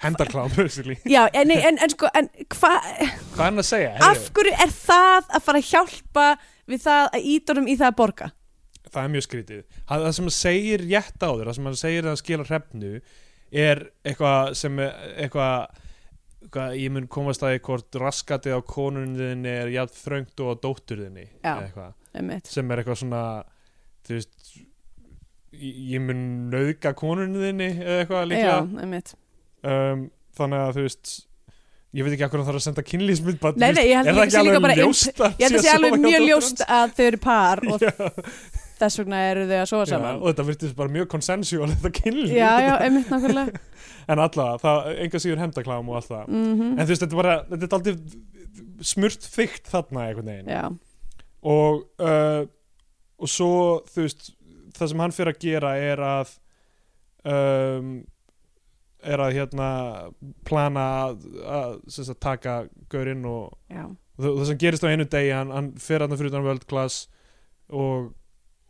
hendarklám [laughs] basically. Já, en, nei, en, en sko, en hvað, hvað er hann að segja? af Heyrðu, hverju er það að fara að hjálpa við það að ídónum í það að borga? það er mjög skrítið það, það sem hann segir rétt á þér það sem hann segir að hann skila hrefnu er eitthvað sem er- eitthvað Hvað, ég mun komast að því hvort raskatið á konunniðinni er jafn þröngt og á dótturðinni Já. eða eitthvað Einmitt. sem er eitthvað svona þú veist ég ég mun nauðga konunni þinni eða eitthvað líka Já, einmitt. um, þannig að þú veist ég veit ekki akkur hann þarf að senda kynlísmynd bara, þú Nei, nei, veist, ég held er það líka- sé líka ekki bara alveg int- ljóst Ég held að sé alveg mjög [laughs] ljóst að þau eru par og þess vegna eru þau að sofa Já, saman. og þetta virtist bara mjög konsensuál [laughs] þetta kynlíf Já, já, einmitt [laughs] nákvæmlega. en allavega, það enga síður hemdaklám og alltaf Mm en þú veist, þetta er bara, þetta er aldrei smurt þygt þarna einhvern veginn Já, og uh, og svo þú veist það sem hann fyrir að gera er að um, er að hérna plana að, að, sem sagt, taka gaurinn og já, og það sem gerist á einu degi hann, hann fyrir hann fyrir utan World Class og,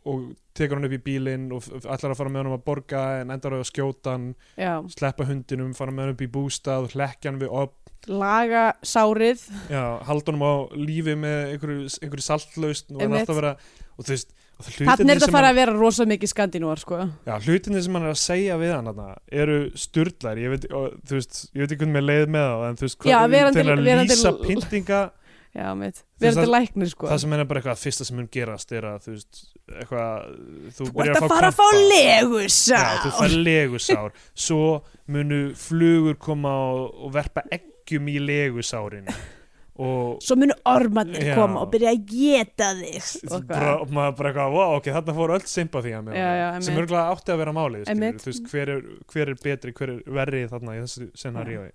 og tekur hann upp í bílinn og f- ætlar að fara með hann að borga en endar á að skjóta hann já. sleppa hundinum, fara með hann upp í bústað hlekkja hann við op Laga sárið. Já, halda honum á lífi með einhverju, einhverju saltlaust og hann er Einmitt. alltaf að vera og þú veist, og það Þannig er hlutinni þetta að sem, fara hann, að vera rosa mikið skandinúar, sko. já, hlutinni sem hann er að segja við hann hana, eru sturdlar ég veit, og, þú veist, ég veit ekki hvernig með leið með það en þú veist, Já, hvað verandi- til að verandi- lýsa pyntinga Já, mitt. Þú veist, Verður þetta læknir, sko. það sem hann er bara eitthvað að fyrsta sem hann gerast er að þú veist, eitthvað þú, Þú byrjar ert að fara að fá krampa. Já, þú legusár. fær legusár Svo munu flugur koma og, og verpa eggjum í legusárin og, Svo munu ormarnir Já. koma og byrja að geta þig. Og bara, hvað. og maður bara eitthvað, wow, ok, þarna fór öll sympathía með Já, honum, já, einmitt. sem örgulega átti að vera málið skilur, Einmitt. þú veist, hver er, hver er betri, hver er verri þarna í þessu scenaríu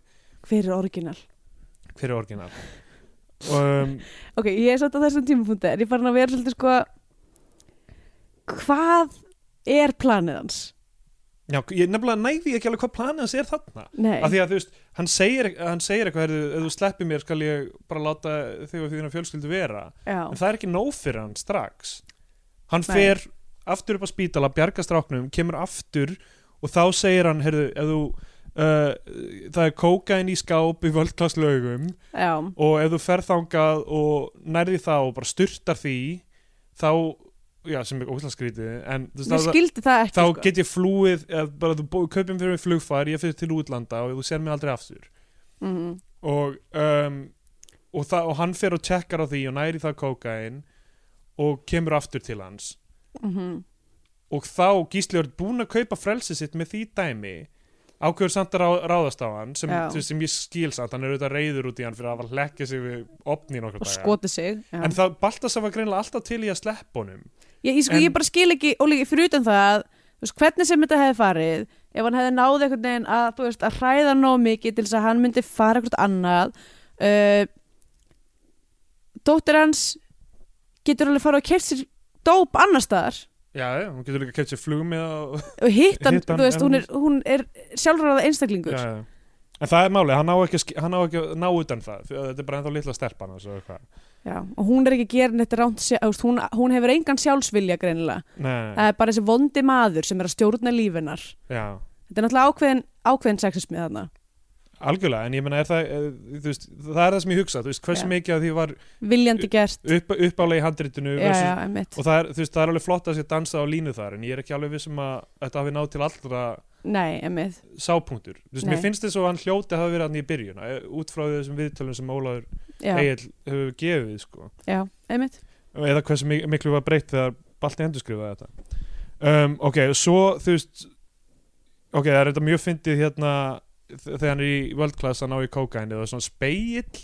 Hver er orginal? hver er orginal um, Ok, ég er satt á þessum tímapunkti en ég er farin að vera svolítið sko hvað er planið hans? já, ég nefnilega næði ekki alveg hvað planið hans er þarna Nei, af því að þú veist, hann segir, e- hann segir eitthvað "Heyrðu, ef þú sleppir mér skal ég bara láta þig og þína fjölskyldu vera en já, það er ekki nóg fyrir hann strax hann Nei. fer aftur upp á spítala bjarga stráknum, kemur aftur og þá segir hann, heyrðu, ef þú uh, það er kókain í skáp í völdklasslaugum já, og ef þú ferð þangað og nærði það og bara styrtar því þá, já, sem er óslagskrítið en þú veist, ég þá- skildi það ekki þá sko. get ég flúið eða bara þú bó- kaupir fyrir mig flugfar, ég fyrir til útlanda og þú sér mig aldrei aftur mm, og, um, og, það, og hann fer og tjekkar á því og næri það kókain og kemur aftur til hans mm, og þá Gísli er búin að kaupa frelsi sitt með því dæmi ákveður samt að rá, ráðast á hann sem, Já. þú veist, sem ég skil samt, hann er auðvitað reyður út í hann fyrir að hafa lekkja sig við opni í nokkur og skoti sig já. en það Baltasar var greinilega alltaf til í að sleppa honum ég, ég, sko, en- ég bara skil ekki, og líka fyrir utan það þú veist, hvernig sem þetta hefði farið ef hann hefði náð einhvern veginn að, þú veist, að hræða nóg mikið til þess að hann myndi fara eitthvað annað uh, dóttir hans getur alveg fara og kert sér dóp annars staðar já, já, hún getur líka keitt sér flug með og, og hittan, Hitt hann, þú veist, en- hún er, hún er sjálfráða einstaklingur [laughs] já, já. en það er málið, hann á ekki, að sk- hann á ekki að ná utan um það því að þetta er bara ennþá litla stelpan og svo eitthvað Já, og hún er ekki að gera neitt ránt sjá- þú veist, hún, hún hefur engan sjálfsvilja greinilega Nei, nei, nei. það er bara þessi vondi maður sem er að stjórna lífinar já þetta er náttúrulega ákveðin, ákveðin sexismi þarna Algjörlega, en ég meina er það, eh, þú veist, það er það sem ég hugsa, þú veist, hversu Já. mikið að því var viljandi gert upp, uppálega í handritinu já, versus, já, einmitt, og það er, þú veist, það er alveg flott að sé dansað á línu þar, en ég er ekki alveg vissum að þetta hafi náð til allra nei, einmitt sápunktur, þú veist, Nei. mér finnst þess að hann hljóti hafi verið hann í byrjun, eh, út frá þessum viðtölum sem Ólaður já, Egil hefur gefið, sko, já, einmitt eða hversu mi- miklu var breytt þegar Balti endurskrifaði þetta um, ok, svo, þú veist ok, það er þetta mjög fyndið hérna, þ- þegar hann er í völdklass að ná í kókaini, það er svona speill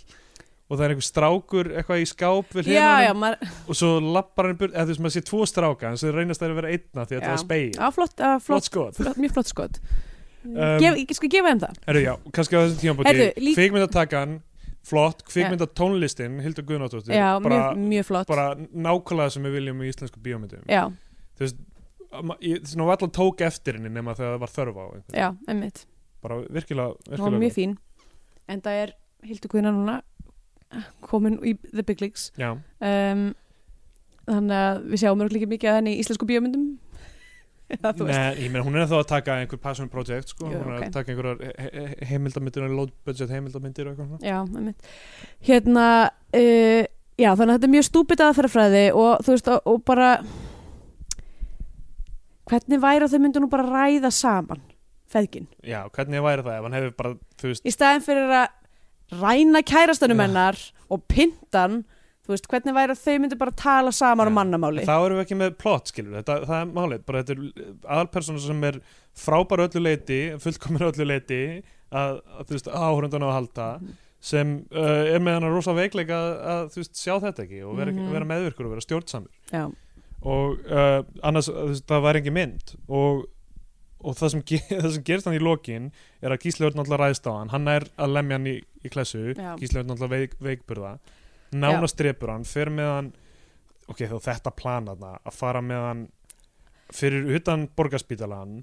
og það er einhver strákur eitthvað í skáp við hliðina á já, honum. já, maður, og svo lappar hann í burt, eða þú veist maður sé tvo stráka en svo reynast það að vera einna því að Já. það er speil á, flott, á, flott, flott skot flott mjög flott skot Um, Gef, ég sko gefa þeim það Herru, já, kannski á þessum tímabóti Heyrðu, lík- kvikmyndatakan, flott kvikmyndatónlistin, Hildur Guðnáttóttir já, bara, mjög, mjög flott bara nákvæmlega sem við viljum í íslensku bíómyndum já, þú veist, ma- ég svona var alltaf tók eftir henni nema þegar það var þörf á einhvern. já, einmitt, bara virkilega, hún var virkilega mjög fín en það er Hildur Guðna núna komin í The Big Leagues já, um, þannig að við sjáum mörg líka mikið að henni í íslensku bíómyndum [laughs] eða þú veist Nei, ég meina hún er þá að taka einhver passion project sko, Jú, hún er ok. að taka einhverjar he- he- heimildamyndir low budget heimildamyndir og eitthvað svona. já, einmitt. hérna uh, já, þannig að þetta er mjög stúpid aðferðafræði og þú veist og, og bara hvernig væri að þau myndu nú bara ræða saman feðgin, já, hvernig væri það ef hann hefur bara, þú veist í staðin fyrir að ræna kærastanum Já. hennar og pintan, þú veist, hvernig væri að þau myndu bara tala saman Já. um mannamáli þá erum við ekki með plot, skilur þetta, það er málið, bara þetta er aðalpersona sem er frábær öllu leiti fullkomur öllu leiti að, að þú veist, áhörundan á að halda Mhm. sem uh, er með hann að rosa veikleika að, að þú veist, sjá þetta ekki og vera, Mhm. vera meðvirkur og vera stjórnsamur já, og uh, annars, þú veist, það væri ekki mynd og, og það, sem ge- [laughs] það sem gerist hann í lokin er að Gísli Örn náttúrulega ræðst á hann, hann er að lemja hann í, í klessu, Já. Gísli Örn náttúrulega veik, veikburða nánast drepur hann, fer með hann ok, þá þetta plana þarna að fara með hann fyrir utan borgarspítalan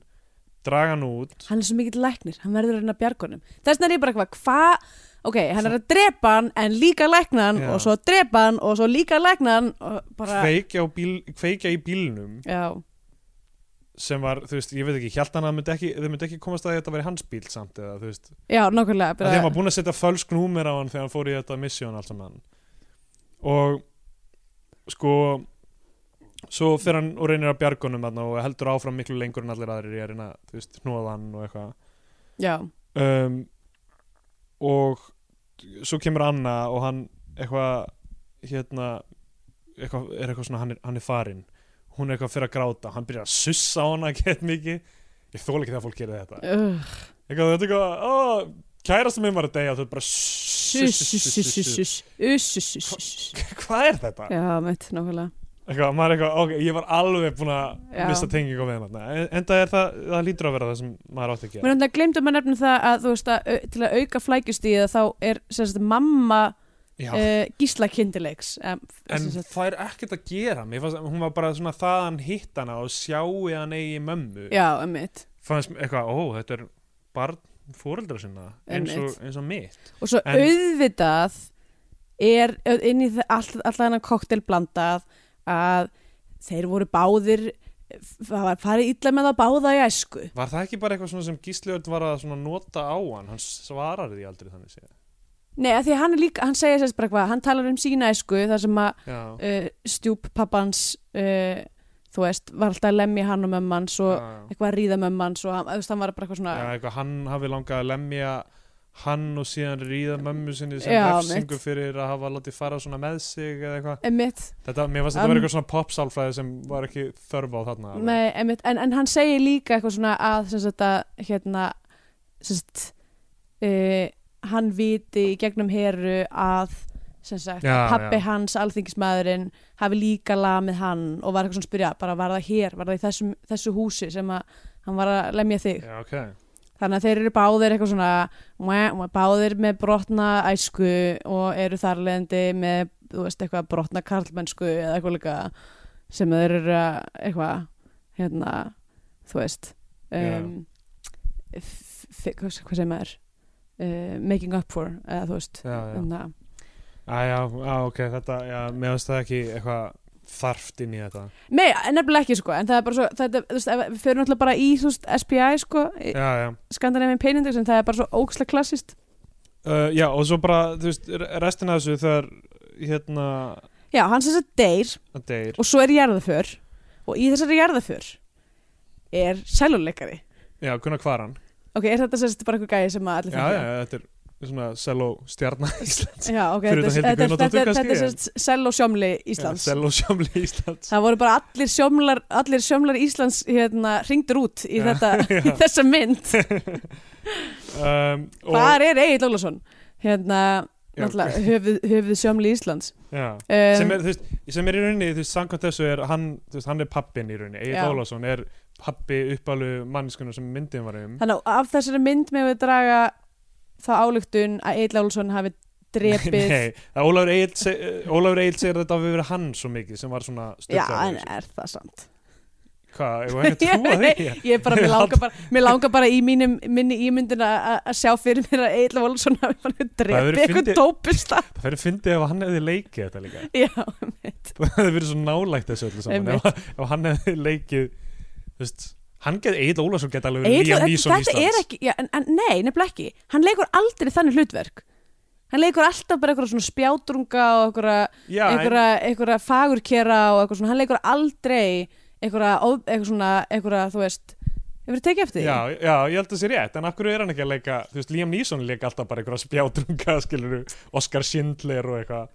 draga hann út hann er svo mikill læknir, hann verður að reyna að bjarga honum þess vegna er ég bara eitthvað, hvað ok, hann er að drepa hann en líka lækna hann Já. og svo drepa hann og svo líka lækna hann og bara, kveikja, á bíl, kveikja í bílnum já, sem var, þú veist, ég veit ekki, hjálta hann að myndi ekki, þau myndi ekki komast að því að þetta væri hans bíl samt eða, þú veist, já, nákvæmlega að þeim bara, var búin að setja fölsk númer á hann þegar hann fór í þetta misjón allt saman og sko svo fer hann og reynir að bjargunum þarna og heldur áfram miklu lengur en allir aðrir í að reyna þú veist, hnóða hann og eitthvað já, um, og svo kemur Anna og hann eitthvað hérna eitthvað, er eitthvað svona, hann er, hann er farin hún er eitthvað fyrir að gráta, hann byrjar að sussa á hana [laughs] gett mikið, ég þóla ekki þegar fólk gerir þetta uh, eitthvað, þetta er eitthvað, ó, kærasta minn var að deyja og þú er bara sus, sus, sus, sus, sss, sus, us, sus, sus, sus. [laughs] hvað er þetta? já, mitt, nákvæmlega eitthvað, maður er eitthvað, ok, ég var alveg búin að Já. mista tengingu með hann en, en það er það, það lítur að vera það sem maður átti að mér gera hann glemdum að nefna það að þú veist að au- til að auka flækjustíð þá er sem sagt, mamma Já, uh, gísla kindilegs um, en það er ekkert að gera mér fannst, hún var bara svona þaðan hitt hana og sjáu hann eigi mömmu já, mitt fannst mér eitthvað, ó, þetta er barn fóreldra sinna, eins og, eins og mitt og svo En- auðvitað er inn í þe- all, allan hennan koktel blandað að þeir voru báðir það var farið illa með það báða í æsku Var það ekki bara eitthvað svona sem Gísliörn var að svona nota á hann, hann svarar því aldrei þannig séð nei, af því að hann er líka, hann segir sérst bara hvað hann talar um sína æsku þar sem að Já, uh, stjúp pappans uh, þú veist, var alltaf að lemja hann og mömmu hans og já. eitthvað að ríða mömmu hans og hann, þú veist, hann var bara eitthvað svona Já, eitthvað, hann hafi langað að lemja hann og síðan ríða mömmu sinni sem Já, refsingu fyrir að hafa látið fara svona með sig eða eitthvað. emitt, Þetta, mér fannst Um, þetta verið eitthvað svona popsálfræði sem var ekki þörf á þarna. alveg. Nei, einmitt, en, en hann segir líka eitthvað svona að sem sagt að hérna sem sagt uh, hann viti í gegnum heru að sem sagt Já, pappi já. hans, alþingismæðurinn hafi líka lamið hann og var eitthvað svona að spyrja bara var það hér, var það í þessum, þessu húsi sem að hann var að lemja þig Já, ok. þannig að þeir eru báðir eitthvað svona mwah, mwah, báðir með brotna æsku og eru þarlegandi með þú veist eitthvað brotna karlmennsku eða eitthvað líka sem þeir eru að, eitthvað hérna þú veist um, f- f- hvað hvað sem er uh, making up for eða þú veist Já, já. hérna, Æ, já, já, ok, þetta, já, mér fannst það ekki eitthvað þarft inn í þetta. nei en nefnilega ekki sko en það er bara svo þetta, þú veist, ef við fyrir náttúrulega bara í þú veist SPI sko Já, já. skandinavinn peinindex en það er bara svo ókslega klassist Uh, já, og svo bara, þú veist, re- restin af þessu þegar, hérna, já hans þess að deyr að deyr. og svo er jarðaför og í þessari jarðaför er sæluleikari Já, kunna hvar hann. ok, er þetta sérst bara eitthvað gæði sem að allir Já, [laughs] já, þetta er svona selló stjarnar Íslands. já ok, Fyrir þetta, utan Hildi er- þetta, er- Guðnadóttur þetta, er- þetta er kannski, sérst sæl og sjómli Íslands Selló sjámli Íslands. það voru bara allir sjómlar, allir sjómlar Íslands hérna hringdur út í, Já, [laughs] þetta, í já. þessa mynd um, og, hvar er Egil Ólafsson hérna, Já, náttúrulega höfuð, höfuð sjómli Íslands já, sem, um, er, þú veist, sem er í rauninni þú veist, samkvæmt þessu er hann, þú veist, hann er pappin í rauninni, Já. Egil Ólafsson er pappi uppalu manniskunar sem myndin var um þannig að af þessari mynd með við draga þá álugtun að Egil Ólafsson hafi drepið [laughs] Nei, það er Ólafur Egil se- eh, Ólafur Egil segir að þetta hafi verið hann svo mikið sem var svona já, styrklaður en er það samt Hvað, ég var ekki að trúa [laughs] því ég er bara, mér langar bara, mér langar bara í mínum, minni ímyndin að að sjá fyrir mér að Eil Volsson hafi bara verið drepi eitthvað fyndið. dópista Það fyrir að fyndi ef hann hefði leikið þetta líka [laughs] já, mitt Það hefði verið svo nálægt þessu öllu saman Einmitt. ef, ef hann hefði leikið þú veist, Hann get, Egil Ólafsson get alveg verið Egill- Liam þetta Neeson þetta er Íslands ekki, já, en, en nei, nefnilega ekki hann leikur aldrei þannig hlutverk hann leikur alltaf bara eitthvað svona spjátrunga og eitthvað, Já, en, eitthvað, eitthvað fagurkera og eitthvað svona, hann leikur aldrei eitthvað, of- eitthvað svona eitthvað, þú veist, hefur tekið eftir því? já, já, ég held að það sé rétt En af hverju er hann ekki að leika Þú veist, Liam Neeson leika alltaf bara einhverja [laughs] spjátrunga skilur Oscar Schindler og eitthvað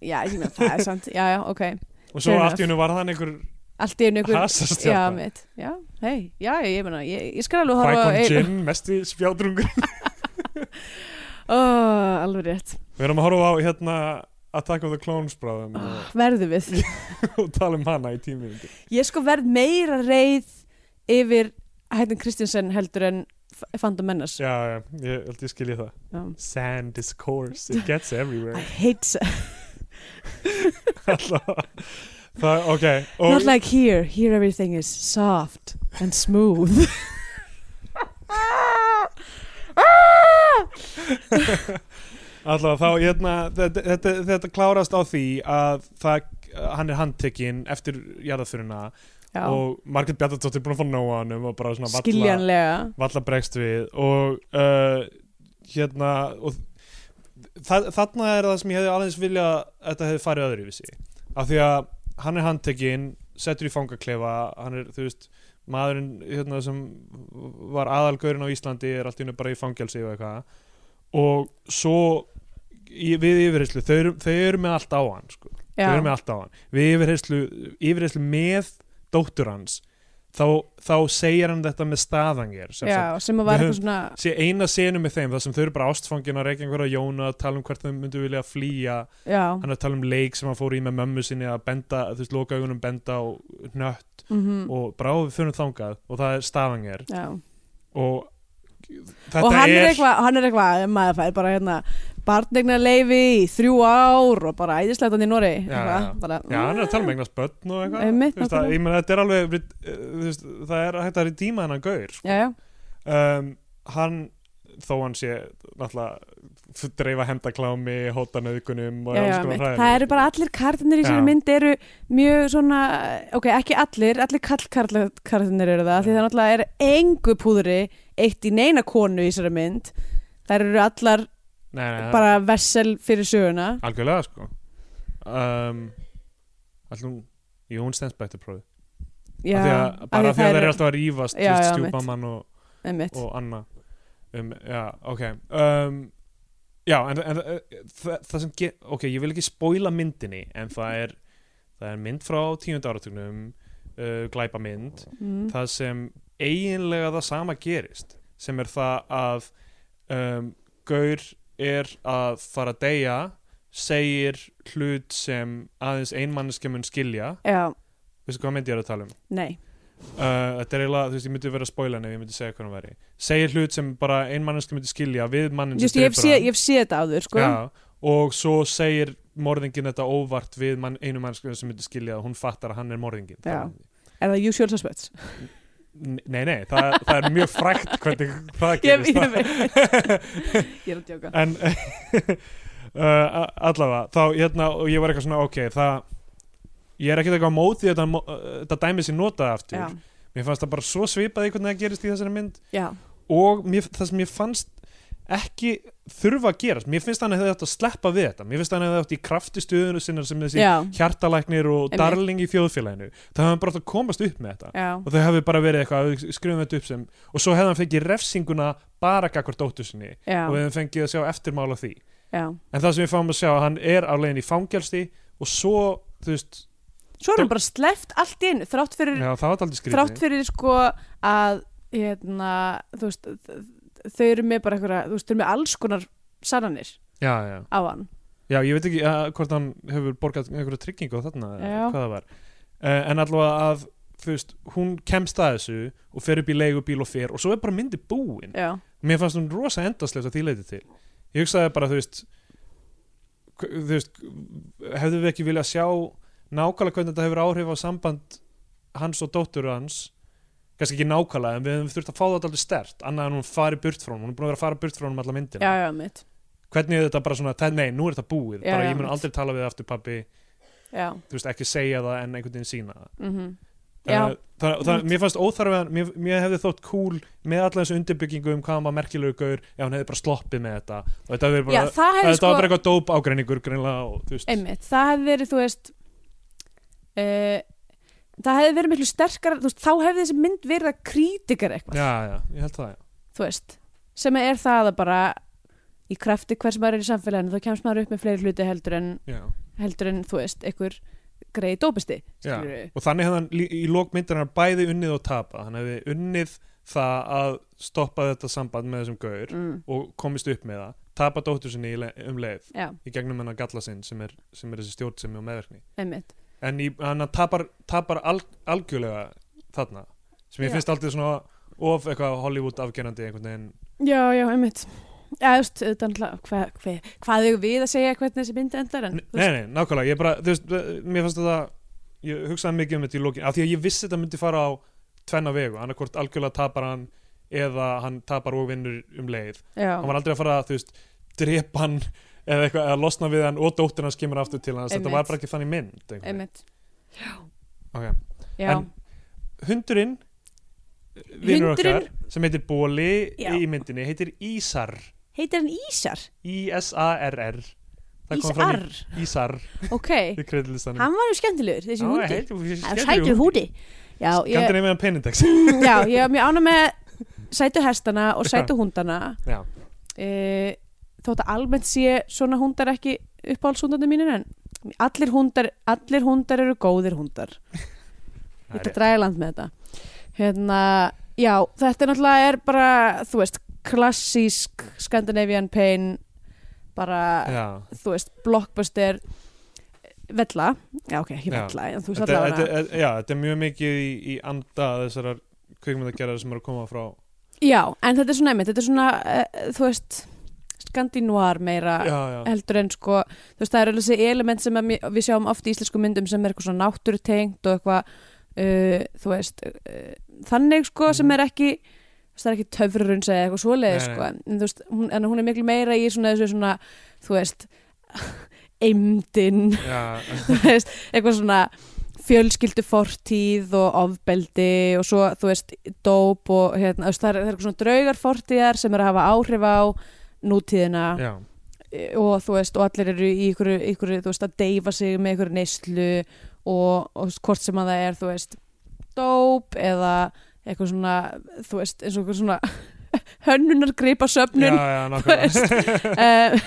Já, ég meina, það er sant, já, já, ok Og Fair svo enough. allt í hennu var hann einhver Allt í einu ykkur Hasastjarna. Já, mitt Já, hei, já, ég meina Ég, ég skal alveg horfa Qui-Gon Eil- Jinn, mesti spjátrungur [laughs] Ó, alveg rétt Við erum að horfa á hérna Attack of the Clones [laughs] bráðum oh, og, Verðum við [laughs] og tala um hana í tími Ég sko verð meira reið yfir Hættin Kristjansen heldur en Fandom Mennas Já, já, ég held ég skilja það Sand is coarse, it gets [laughs] everywhere I hate s- Allavega. Það, ok Not og, like here, here everything is soft and smooth [laughs] Ah! [laughs] Allavega, þá, hérna, þetta, þetta, þetta klárast á því að það, hann er handtekinn eftir jarðafurina Já, og Margaret Bjartardóttir er búin að fá nóa hann og bara svona valla, skiljanlega valla bregst við og uh, hérna og það, þarna er það sem ég hefði aðeins vilja að þetta hefði farið öðru við sig af því að hann er handtekinn settur í fangaklefa hann er, þú veist, maðurinn hérna, sem var aðalgörin á Íslandi er allt í hennu bara í fangelsi og eitthvað og svo í, við yfirheyslu, þau, eru- þau eru með allt á hann sko þau eru Já, með allt á hann við yfirheyslu, yfirheyslu með dóttur hans þá, þá segir hann þetta með staðangir sem sagt. já sem að var Við eitthvað svona sé eina senu með þeim þar sem þau eru bara ástfangin að reyka einhverja jóna tala um hvert þau myndu vilja að flýja Já, hann er að tala um leik sem hann fór í með mömmu sinni að benda, þú veist, loka augunum benda og nött mhm, og bara á við fyrir þangað og það er staðangir já og þetta og hann er, er eitthvað, hann er eitthvað, maður fær bara hérna barnegna leifi í þrjú ár og bara æðislegt hann í Nóri Já, já. Já, hann er að mm, tala um eignast börn og eitthvað Einmitt, Þú veist, það, nákvæmlega. Ég meina, þetta er alveg uh, þú veist, Það er hægt að redíma hennan gaur sko. já, já, um, hann þó hann sé náttúrulega dreifa hendaklámi, hóta nöðgunum og já, já, alls konar mitt. hræðilegt. það eru bara allir kartinir í sér Já. mynd eru mjög svona ok, ekki allir, allir kallkartinir eru það, því Já. það náttúrulega er engu púðri eitt í neina konu í sér mynd þær eru allar nei, nei, það- bara vessel fyrir söguna algjörlega sko um, allir hún jú, hún stendst bættu prófið já, af því að, bara af því að það er alltaf að rífast já, Já, já, mitt. stjúpamann og, einmitt, og Anna um, já, ok um, já, en, en það, það sem ge, ok, ég vil ekki spóila myndinni en það er, það er mynd frá tíundu áratugnum uh, glæpa mynd mm, það sem eiginlega það sama gerist sem er það að um, Gaur er að fara að deyja segir hlut sem aðeins einmanniske mun skilja já, veistu hvað myndi ég er að tala um nei uh, þetta er eiginlega, þú veist, ég myndi vera að spoila ef ég myndi segja hvernig væri segir hlut sem bara einmanniske myndi skilja við mannin Just, sem ég hef drepur séð hann. ég hef séð þetta áður sko Já, og svo segir morðingin þetta óvart við mann, einu mannsku sem myndi skilja og hún fattar að hann er morðingin Já. Þannig- er það usual suspects Nei, nei, það, það er mjög frækt hvernig það ég, gerist ég veit ég er að djóka [laughs] En [laughs] uh, allavega, þá hérna og ég var eitthvað svona, ok, það ég er ekkert eitthvað á móti því að þetta, mo- uh, þetta dæmi sér notað aftur, já, mér fannst það bara svo svipað í hvernig það gerist í þessari mynd já, og mér, það sem ég fannst ekki þurfa að gerast, mér finnst hann að hefði átt að sleppa við þetta, mér finnst hann að hefði átt í kraftistuðinu sinna sem þessi já, hjartalæknir og Einmitt. darling í þjóðfélaginu það hefði hann bara átt að komast upp með þetta já. og þau hafi bara verið eitthvað við skrifum þetta upp sem og svo hefði hann fengið refsinguna bara gagvart dóttur sinni já, og við hefðum fengið að sjá eftirmála því já. en það sem við fáum að sjá hann er á leiðin í fangelsti og svo þú veist svo erum bara sleppt allt í einu þrátt fyrir, já, það var aldrei skrifni Mm. þrátt fyrir sko að hérna, þú veist, þ- þau eru með bara einhverja, þú veist, þau eru með alls konar sannanir já, já. á hann já, ég veit ekki uh, hvort hann hefur borgað einhverja tryggingu á þarna eða Já. hvað það var uh, en allavega að þú veist hún kemst að þessu og fer upp í leigubíl og fer og svo er bara myndi búin já, mér fannst hún rosa endasleif að því leiti til ég hugsaði bara þú veist hv- þú veist hefðum við ekki viljað sjá nákvæmlega hvernig þetta hefur áhrif á samband hans og dóttur hans kannski ekki nákvæmlega en við höfum þurft að fá þetta aldrei stert annað en hún fari burt frá hún, hún er búin að vera að fara burt frá hún allar myndina, já, já, mitt hvernig er þetta bara svona "Ted, nei, nú er þetta búið, Já, bara já, ég mun mitt. aldrei tala við þig aftur pabbi, já, þú veist ekki segja það en einhvern veginn sína það mhm Já. Þannig að- Eh, það, það, mér fannst óþarfið mér, mér hefði þótt cool með alla þessu undirbyggingu um hvað hann var merkilegur gaur ef hann hefði bara sloppið með þetta og þetta, hefði bara, já, það þetta hefði sko var bara eitthvað dóp ágreiningur greinlega og þú veist einmitt, það hefði verið, þú veist uh, það hefði verið miklu sterkar þú veist, þá hefði þessi mynd verið að krítikar eitthvað, já, já, ég held það, já, þú veist sem er það að bara í krafti hvers maður er í samfélaginu, þá kemst maður upp með fleiri hluti heldur en, já, heldur en þú veist, einhver greið dópisti já. skilurðu. og þannig hefði hann lí- í lókmyndinar bæði unnið og tapað, hann hefði unnið það að stoppa þetta samband með þessum gaur mm, og komist upp með það tapa dóttur sinni í le- um leið já, í gegnum hennar galla sinn sem er, sem er þessi stjórnsemi og meðverkni einmitt en í, hann tapar, tapar al, algjörlega þarna sem ég Já. finnst aldrei svona of eitthvað Hollywood afgerandi einhvern veginn já, já, einmitt Já, þú veist, auðvitað náttúrulega, hvað, hvað, hvað eigum við að segja hvernig þessi mynd endar en, nei, þú veist, nei, nákvæmlega, ég bara, þú veist eh, mér fannst þetta, ég hugsaði mikið um þetta í lókin af því að ég vissi þetta myndi fara á tvenna vegu, annarkvort algjörlega tapar hann eða hann tapar og vinnur um leið já, hann var aldrei að fara að, þú veist, drepa hann [laughs] eða eitthvað, eða losna við hann og dóttir hans kemur aftur til hans, þetta Einmitt. var bara ekki þannig mynd einhvern veginn. einmitt Ok. Já, En- hundurinn vinnur okkar sem heitir Bóli Já. í myndinni heitir Ísar heitir hann Ísar? I-S-A-R-R Það kom fram Ísar, í Ísar [laughs] ok í kreidlistanum Hann var nú skemmtilegur, þessi hundi Það er Sætur sætur húndi Já, Kandir ég, nefnir hann penindex [laughs] já, ég er mjög ána með sætu hestana og sætu hundana Já, e, Þótt að almennt sé svona hundar ekki uppáhaldshundarnir mínir en allir hundar, allir hundar eru góðir hundar Ég það ætla er að draga í land með þetta Hérna, já, þetta er náttúrulega er bara, þú veist, klassísk Scandinavian pain bara, rétt. Já. þú veist, blockbuster vella, já ok, ekki Já. vella en þú veist Þetta, allavega þetta, þetta, já, þetta er mjög mikið í, í anda þessarar kvikmyndagerðar sem eru að koma frá Já, en þetta er svona einmitt, þetta er svona, uh, þú veist, skandinúar meira Já, já, heldur en sko, þú veist, það eru alveg þessi element sem að mér- við sjáum oft í íslensku myndum sem er eitthvað svona náttúrutengt og eitthvað, uh, þú veist, uh, þannig sko sem Mhm. er ekki, þú veist, það er ekki töfrurun segja eitthvað Nei, svoleiði nei. sko, en, en þú veist, hún, en hún er miklu meira í svona þessu svona, þú veist, [laughs] eimdin, já, [laughs] þú veist, eitthvað svona fjölskyldu fortíð og ofbeldi og svo, þú veist, dóp og hérna, þú veist, það er, það er eitthvað svona draugar fortíðar sem er að hafa áhrif á nútíðina já. e, og þú veist, og allir eru í ykkur, ykkur þú veist, að deyfa sig með ykkur neyslu og, og hvort sem að það er, þú veist, dóp eða eitthvað svona, þú veist, eins og eitthvað svona [laughs] hönnunar gripa já, söfnun já [laughs] þú veist, nákvæmlega Eh,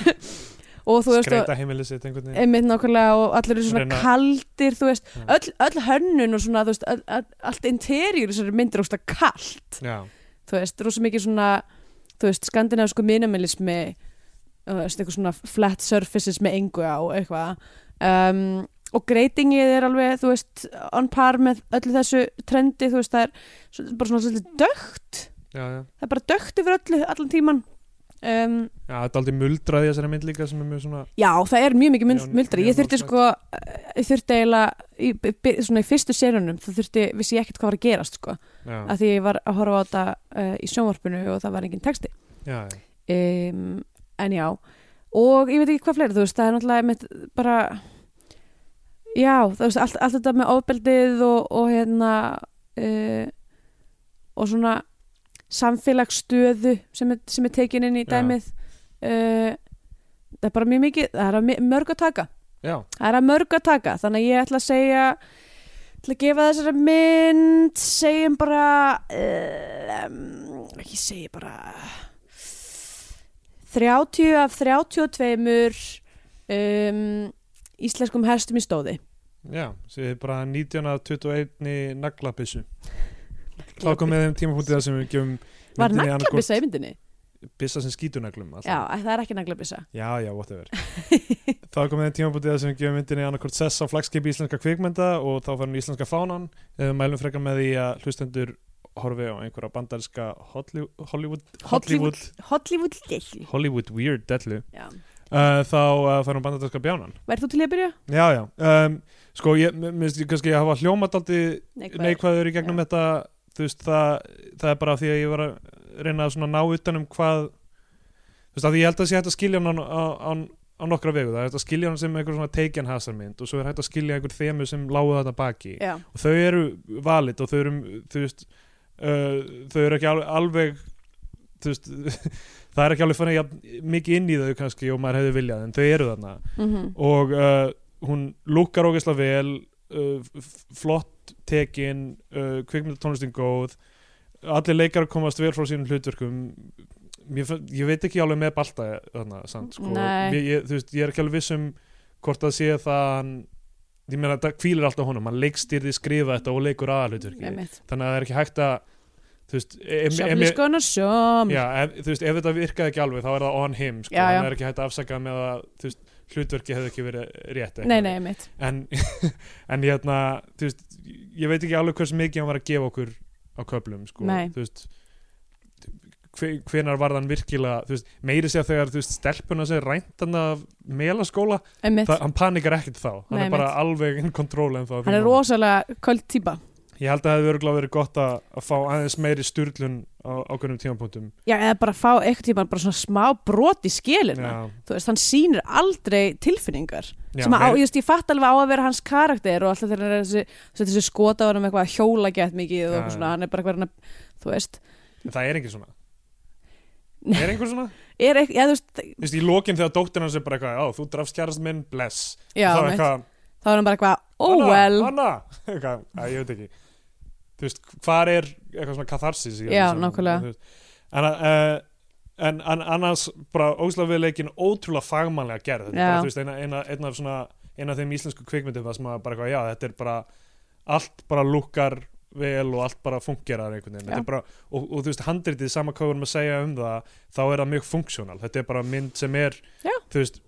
[laughs] og þú veist, og, Skreita heimilið sitt einhvern veginn einmitt nákvæmlega og allir eru svona Reyna- kaldir þú veist, Já. öll, öll hönnun og svona þú veist, öll, öll, allt interjúr þessari myndir rosa kalt, Já, þú veist, rosa mikið svona þú veist, skandinavsku minimalismi þú veist, eitthvað svona flat surfaces með engu á eitthvað um, og greitingið er alveg, þú veist, on par með öllu þessu trendi, þú veist, það er svo- bara svona svolítið dögt já, já það er bara dögt yfir öllu, allan tíman um, Já, þetta er aldrei muldraði þessari mynd líka sem er mjög svona Já, það er mjög mikið Já, mynd- muldra. mjög Ég þurfti málsvægt. sko, eh, ég þurfti eiginlega, í, by- svona í fyrstu serunum, þá þurfti, vissi ég ekkert hvað var að gerast sko, Já, að því ég var að horfa á þetta uh, í sjónvarpinu og það var enginn texti. já, já Um, en já, og ég veit ekki hvað fleira, þú veist, það er náttúrulega mitt bara, já, þú veist, allt, allt þetta með ofbeldið og, og hérna, uh, og svona samfélagsstöðu sem er, sem er tekin inn í Já. dæmið. Uh, það er bara mjög mikið, það er að mi- mörg að taka. Já, Það er að mörg að taka, þannig að ég ætla að segja ætla að gefa þessari mynd segjum bara um, ekki segi bara 30 af 32 um, íslenskum hestum í stóði Já, sem er bara 19 af 21 í naglabissu Þá komum við þeim tímapunktið þar sem við gefum Var myndinni annað hvort naglabissa í myndinni? Bissa sem skýtur naglum alltaf. Já, það er ekki naglabissa já, já, [laughs] whatever Þá komum við þeim tímapunktið þar sem við gefum myndinni annarkort sess á flagskipi íslenska kvikmynda og þá fann íslenska fánan Eh, við mælum frekar með því að hlustendur horfi á einhverja bandarska Hollywood Hollywood, Hollywood Hollywood lill Hollywood Weird dellu Já, uh, þá uh, fær hún bandadarska bjánan Verð þú til í að byrja? já, já, um, sko ég mér finnst ég kannski að hafa hljómat aldrei neikvæður í gegnum Já. þetta þú veist, það, það er bara því að ég var að reyna að svona ná utan um hvað þú veist, að ég held að sé hægt að skilja hann á, á, á, á nokkra vegu, það er hægt að skilja hann sem einhver svona taken hasarmynd og svo er hægt að skilja einhver þemu sem lágu þarna baki Já, og þau eru valid og þau eru þú veist uh, þau eru ekki alveg, alveg þú veist, [laughs] það er ekki alveg fannig jafn mikið inn í þau kannski og maður hefði viljað en þau eru þarna mhm, og uh, hún lukkar ógeðslega vel uh, f- flott tekin uh, kvikmyndatónlistin góð allir leikar komast vel frá sínum hlutverkum ég, ég veit ekki alveg með balta þarna, samt, sko. Nei. ég, ég, þú veist, ég er ekki alveg viss um hvort að sé það að hann ég meina þetta kvílir alltaf honum, hann leikstýrði skrifa þetta og leikur aðalhutverki einmitt þannig að það er ekki hægt að þú veist, em, em, Sjöflis konar sjóm Já, ef, þú veist, ef þetta virkaði ekki alveg þá er það on him, sko, Já, já. hann er ekki hægt að afsaka með að, þú veist, hlutverki hefði ekki verið rétt Nei, nei, einmitt En, [laughs] en hérna, þú veist, ég veit ekki alveg hversu mikið hann var að gefa okkur á köflum, sko, Nei. þú veist hve- hvenær var þann virkilega þú veist, meiri segja þegar þú veist stelpuna sem rænt hann af melaskóla Einmitt, það, hann panikar ekkert þá, hann Nei, er bara alveg in control en þá hann er rosalega kvöld típa ég held að það hefði örgulega verið gott að, að fá aðeins meiri styrlun á ákveðnum tímapunktum Já, eða bara fá eitthvað tíma bara svona smá brot í skilina Þú veist, hann sýnir aldrei tilfinningar Já, sem að, meiri- á, ég, veist, ég fatt alveg á að vera hans karakter og alltaf þegar hann er þessi, þessi, þessi skota á hann um eitthvað að hjóla gett mikið og Já, eitthvað já. svona, hann er bara eitthvað hann að, þú veist En Það er engin svona [laughs] Nei. Er einhver svona? er eitthvað, já, þú veist, Þú veist, í lokin þegar dóttir hans er bara eitthvað, já, þú drafst kjærast minn, bless. já, það einmitt. þá er hann bara eitthvað, oh well Anna, [laughs] eitthvað, að, ég veit ekki. Þú veist, hvar er eitthvað svona katharsis? í þessu Já, saman, nákvæmlega. þú veist. En, að, uh, en, en annars, bara óslega við leikin ótrúlega fagmannlega gerð. Þetta er Já. bara, Þú veist, eina, eina, eina af svona, eina af þeim íslensku kvikmyndum það sem að bara eitthvað, já, þetta er bara, allt bara lukkar vel og allt bara fungerar einhvern veginn. Já. Þetta er Bara, og, og þú veist, handritið, sama hvað við erum að segja um það, þá er það mjög funksjónal þetta er bara mynd sem er Já. þú veist,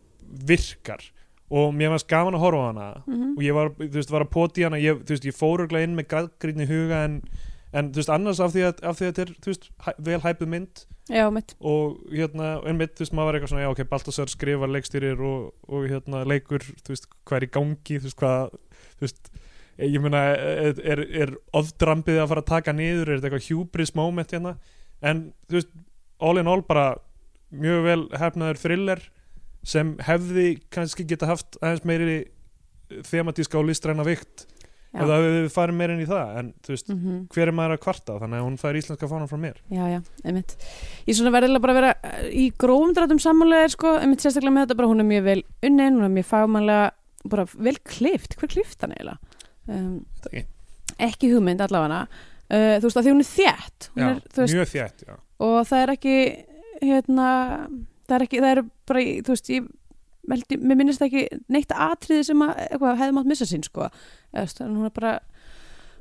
virkar og mér fannst gaman að horfa á hana Mhm. og ég var, þú veist, var að poti hana ég, þú veist, ég fór örglega inn með græðgrýnni huga en, en þú veist, annars af því að, af því að þetta er þú veist, hæ, vel hæpuð mynd já, mitt, og hérna, einmitt, þú veist, maður var eitthvað svona já, ok, Baltasar skrifar leikstýrir og, og hérna, leikur, þú veist, hvað er í gangi þú veist, hvað, þú veist eh, ég meina, er, er, er ofdrambið að fara að taka niður, er þetta eitthvað hubris moment hérna, en þú veist all in all bara mjög vel hefnaður thriller sem hefði kannski geta haft aðeins meiri thematíska og listræna vikt Já. ef það hefði farið meira inn í það en þú veist, mm hver er maður að kvarta þannig að hún fær íslenska fánan frá mér já, já, einmitt ég svona verðilega bara að vera eh, í grófum drátum sammálega, sko, einmitt sérstaklega með þetta bara hún er mjög vel unnin, hún er mjög fagmannlega bara vel klift, hver klift hann eiginlega um, Þetta ekki. ekki hugmynd allavega uh, þú veist að því hún er þétt hún já, er, þú veist, mjög þétt, já og það er ekki hérna, það er ekki það er bara, í- þú veist, ég meldi, mér minnist ekki neitt atriði sem að eitthvað hefði mátt missa sín, sko Eðast, en hún er bara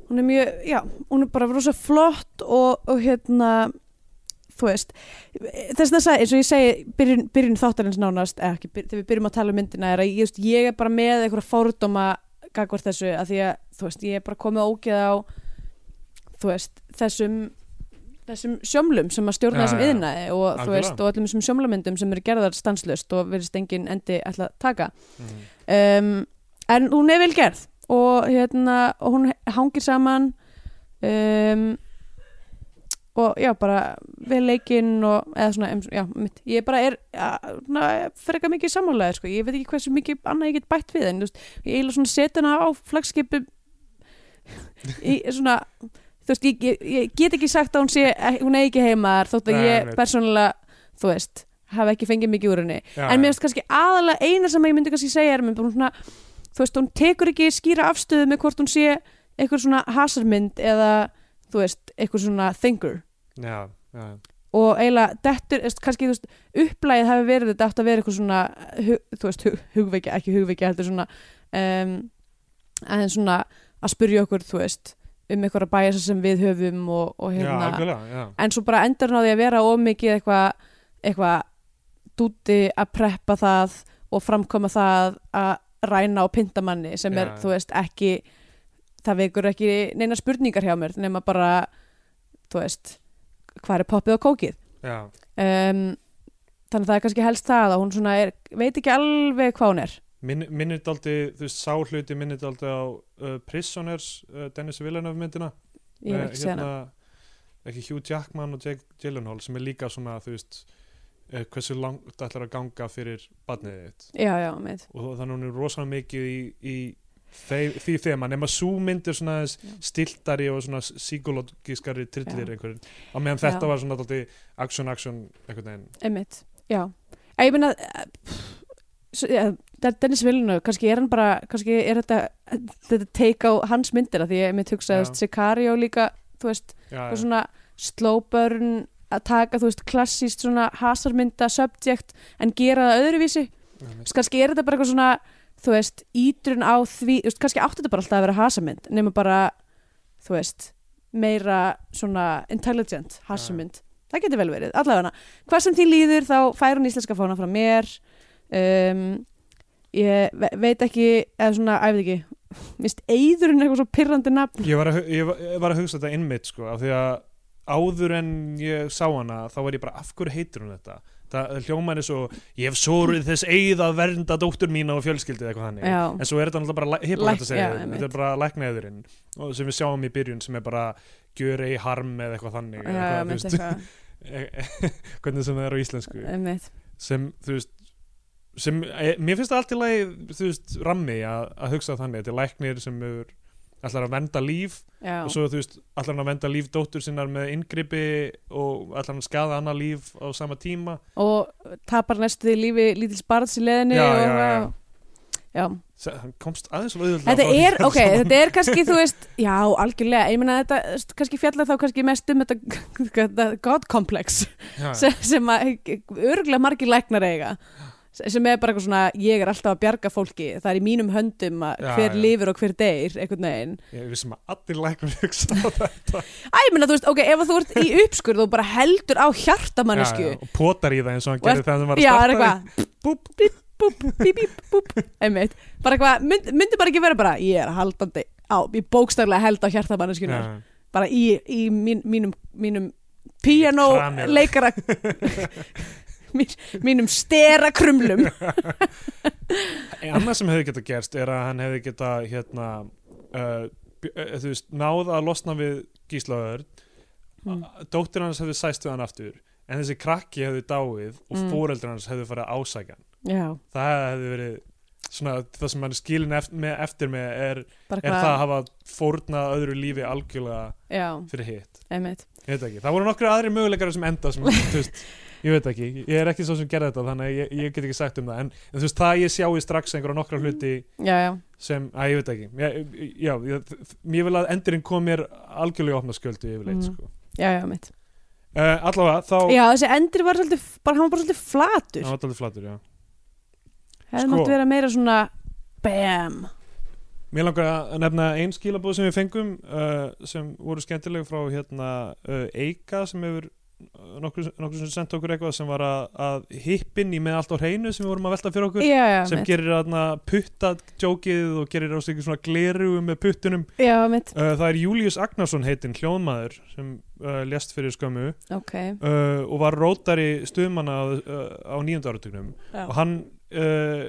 hún er mjög, já, hún er bara rosa flott og, og hérna þú veist, þess að það eins og ég segi, byrjun, byrjun þáttarins nánast eða ekki, byr, þegar við byrjum að tala um myndina er að ég, just, ég er bara með einhverja fórdóma gagvart þessu, að því að þú veist, ég er bara komið ógeð á þú veist, þessum þessum sjómlum sem að stjórna Já, þessum já, já. yðnaði og þú Algjörlega. veist, og öllum þessum sjómlamyndum sem eru gerðar stanslust og verðist engin endi ætla að taka mm. um, en hún er vel gerð og hérna og hún hangir saman um, og já bara vel leikinn og eða svona, em- já, mitt, ég bara er ja, na, freka mikið sammálaði sko. ég veit ekki hversu mikið annað ég get bætt við en þú veist, ég eiginlega svona setja hana á flagskipu [laughs] í svona þú veist, ég, ég, ég get ekki sagt að hún sé eh, hún er ekki heima þar þótt að Nei, ég einmitt. persónulega þú veist, hafa ekki fengið mikið úr henni já, en já. mér finnst kannski aðalega eina sem ég myndi kannski segja er mér bara svona, þú veist, hún tekur ekki skýra afstöðu með hvort hún sé eitthvað svona hasarmynd eða þú veist, eitthvað svona thinker já, já, og eiginlega dettur, þú veist, kannski þú veist, upplægið hafi verið þetta átt að vera eitthvað svona hug, þú veist, hug, hugveikja, ekki hugveikja heldur svona um, aðeins svona að spyrja okkur, þú veist um eitthvað að bæja sem við höfum og, og já, hérna, algjörlega já. en svo bara endur hann á því að vera ómikið eitthvað eitthvað dúti að preppa það og framkoma það að ræna og pinta manni sem er, Já. þú veist, ekki það vekur ekki neina spurningar hjá mér nema bara, þú veist hvað er poppið og kókið Já, um, þannig að það er kannski helst það að hún svona er, veit ekki alveg hvað hún er Minn, minnir daldi, þú veist, sá hluti minnir daldi á uh, Prisoners uh, Dennis Villeneuve myndina ég hef með, ekki séð hana ekki Hugh Jackman og Jake Gyllenhaal sem er líka svona, þú veist uh, hversu langt ætlar að ganga fyrir barnið þitt já, já, með, og þó- þannig hún er rosalega mikið í, í þe- því þema, nema svo myndir svona aðeins Já. stiltari og svona psykologískari trillir Já. einhverjum á meðan Já. þetta var svona alltaf action action einhvern veginn einmitt já, en ég meina eh, pff, svo- ja, Den- Dennis Villeneuve, kannski er hann bara kannski er þetta, þetta take á hans myndir að því ég mitt hugsaði, Já. þú veist, Sicario líka þú veist, já, og já, svona slow burn að taka, þú veist, klassíst svona hasarmynda subject en gera það öðruvísi einmitt. veist, kannski er þetta bara eitthvað svona þú veist, ítrun á því þú veist, kannski átti þetta bara alltaf að vera hasamynd nema bara, þú veist meira svona intelligent hasamynd, það getur vel verið allavega, hvað sem því líður þá fær hún íslenska fána frá mér um, ég ve- veit ekki eða svona, æfði ekki [laughs] mist eiðurinn eitthvað svo pirrandi nafn Ég var, að, hu- ég, var, ég var að hugsa þetta innmitt sko, af því að áður en ég sá hana þá var ég bara, af hverju heitir hún þetta? Það hljómaði svo, ég hef sórið þess eigið að vernda dóttur mína og fjölskyldið eitthvað þannig. Já. En svo er þetta náttúrulega bara Læk- hippolegt að segja, já, þetta. einmitt. þetta er bara læknaðurinn og sem við sjáum í byrjun sem er bara gjör ei harm eða eitthvað þannig. já, eða já, eitthvað, mitt þú veist, [laughs] eitthvað hvernig sem það er á íslensku einmitt. sem, þú veist sem, e, mér finnst það allt í lagi, þú veist, rammi að, að hugsa þannig, þetta er læknir sem er, ætlar að vernda líf já, og svo þú veist, allar hann að venda líf dóttur sinnar með inngripi og allar hann að skada annað líf á sama tíma og tapar næstu því lífi lítils barns í leðinni Já, og, já, já. já. S- hann komst aðeins og auðvitað Þetta er, ok, þetta er kannski, þú veist, já, algjörlega, ég meina þetta þú veist, kannski fjallar þá kannski mest um þetta, [laughs] þetta God complex já, sem, sem að örgulega margir læknar eiga sem er bara eitthvað svona, ég er alltaf að bjarga fólki, það er í mínum höndum að Já, hver já. lifir og hver deyr, einhvern veginn. ég vissum að allir læknar hugsa á þetta Æ, ég meina, þú veist, ok, ef að þú ert í [laughs] uppskurð og bara heldur á hjartamannesku, og potar í það eins og hann Og gerir það sem var að Já, það er starta eitthvað Búp, búp, búp, [laughs] bíp, bíp, búp Einmitt, bara eitthvað, mynd, myndi bara ekki vera bara Ég er haldandi á, ég bókstaflega held á hjartamanneskjunar Já. Bara í, í mín, mínum, mínum Piano Kramið. leikara [laughs] mín, Mínum stera krumlum En annað sem hefði getað gerst er að hann hefði getað hérna uh, b- eh, þú veist, náð að losna við gíslaður mm. Hmm. dóttir hans hefði sæst við hann aftur en þessi krakki hefði dáið og Mm. mm. hans hefði farið að ásækja hann Já, það hefði verið svona, það sem hann er skilin eftir með, eftir með er, er bara það að eitthvað hafa fórnað öðru lífi algjörlega Já, fyrir hitt einmitt ég veit ekki, það voru nokkru aðri möguleikar sem enda sem, þú veist, ég veit ekki, ég er ekki svo sem gerði þetta þannig að ég, ég get ekki sagt um það en, en þú veist, það ég sjái strax einhverja nokkra hluti Já, já, sem, að ég veit ekki ég, já, ég, ég vil að endurinn kom mér algjörlega í opna skjöldu yfirleitt Mm. sko. já, já, einmitt uh, allavega, þá, Já, þessi endir var svolítið, bara, hann var bara svolítið flatur það var alltaf flatur, já Hefði Sko. máttu vera meira svona Bam Mér langar að nefna ein skilabóð sem við fengum uh, sem voru skemmtilega frá hérna uh, Eika sem hefur uh, nokkur, nokkur sem sendt okkur eitthvað sem var að, að hippin í með allt á hreinu sem við vorum að velta fyrir okkur Já, já, sem einmitt gerir aðna puttadjókið og gerir ástækjum svona gleru með puttunum. Já, einmitt, Uh, það er Július Agnarsson heitinn hljóðmaður sem uh, lest fyrir skömmu uh, ok og var rótari stuðmanna á, uh, á nýjönda áratugnum Já. og hann uh,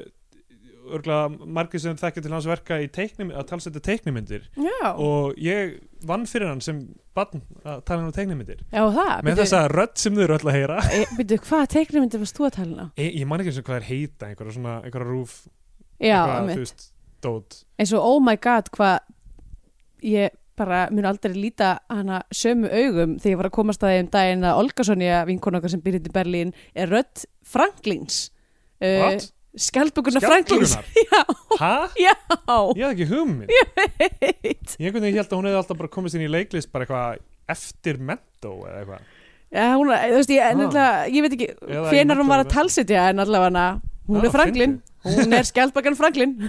örgla margir sem þekkja til hans verka í teiknum, að talsetja teiknumyndir Já, og ég vann fyrir hann sem barn að tala hann um teiknumyndir já það með þessa rödd sem þau eru öll að heyra Býtu, hvaða teiknumyndir varst þú að tala um? ég, ég man ekki eins og hvað er heita einhverja svona, einhverja rúf Já, eitthvað, einmitt. þú veist, dót eins og oh my god hvað ég bara mun aldrei líta hana sömu augum þegar ég var að komast að þeim daginn að Olga Sonja, vinkona okkar sem býr hérna í Berlín er rödd Franklins uh, What? Skjaldbökunnar Franklins [laughs] Já, Hæ? já, Ég hafði ekki um hugmynd veit Ég einhvern veginn held að hún hefði alltaf bara komist inn í leiklist bara eitthvað eftir mentó eða eitthvað Já, hún, þú veist, Ah. ég, ah. allavega, ég veit ekki Eða í hvenar hún var að Menntaskólanum. talsitja en allavega hana, hún Ah, er Franklin hún er Skjaldbökunn Franklin [laughs]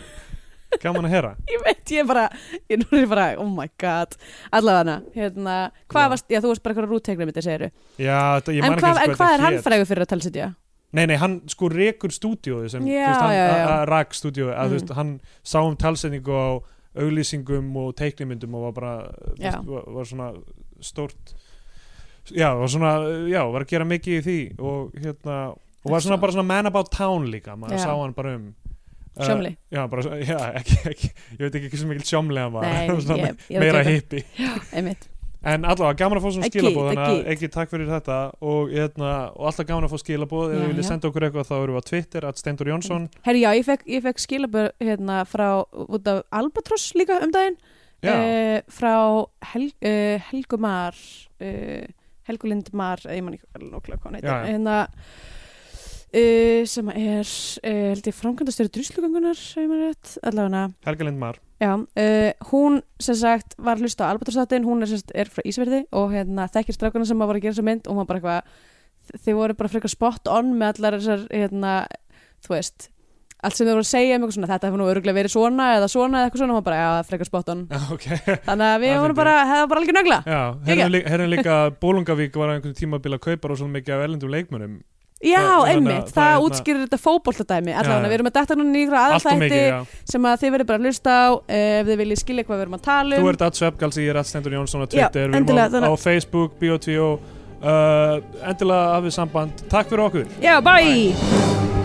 Gaman að heyra ég veit, ég bara, ég nú er ég bara, oh my god, allavega hérna, hvað Já. varst, já, þú varst bara eitthvað rútteiknum þetta segiru, Já, þetta, ég en man ekki hvað, eins en og hvað þetta er hann hét. frægur fyrir að talsetja? Nei, nei, hann sko rekur stúdíóðu sem, Já, þú veist, hann já, já. a- a- rak stúdíóðu, að þú Mm. veist, hann sá um talsetningu á auglýsingum og teiknimyndum og var bara, þú Já. veist, var, var svona stórt, já, var svona, já, var að gera mikið í því og hérna, og var svona Svo. bara svona man about town líka maður Já. sá hann bara um uh, Sjómli. já, bara, [laughs] já ekki, ekki, ég veit ekki hversu mikil sjómli hann var Nei, [laughs] Svona ég, ég meira hitt hippi einmitt, en allavega gaman að fá svona Ekki, skilabóð þannig að ekki. ekki takk fyrir þetta og, hérna, og alltaf gaman að fá skilabóð ef Já, þið viljið já. senda okkur eitthvað þá erum við á Twitter at Steindur Jónsson herru já, ég fekk, ég fekk skilabur hérna frá, út af Albatross líka um daginn já, uh, frá Hel uh, Helgu Mar uh, Helgu Lind Mar eh, ég man ekki alveg nokkulega hvað hann Já, heitir já. hérna, uh, sem er uh, held ég framkvæmdastjóri druslugangunar ef ég maður rétt, allavega Helga Lindmar Já, uh, hún sem sagt var að hlusta á Albatrossáttin, hún er, sem sagt, er frá Ísverði og hérna þekkir strákuna sem var að gera þessa mynd og hún var bara eitthvað, þið voru bara frekar spot on með allar þessar, hérna, þú veist, allt sem þau voru að segja um eitthvað svona, þetta hefur nú örgulega verið svona eða svona eða eitthvað svona, hún var bara, já, það er frekar spot on. [laughs] já, ok Þannig að við Það vorum fyndi. bara, það var bara algjör nögla. [laughs] Já, herrnum líka, herrnum líka að Bólungavík var á einhvern tímabil að kaupa og svona mikið af erlendum leikmönnum Já, Það- þannig að einmitt, það, það er hérna- útskýrir þetta fótboltadæmi, Já, allavega, já. við erum að detta núna í ykkur aðra Allt og þætti mikið, já sem að þið verður bara að hlusta á, eh, ef þið viljið skilja hvað við erum að tala Þú um. ert að Svepgalsi, ég er að Stendur Jónsson á Já, Twitter, við erum endilega, á, á þannig Facebook, Eh, BOTO uh, endilega hafið samband, takk fyrir okkur Já, bye.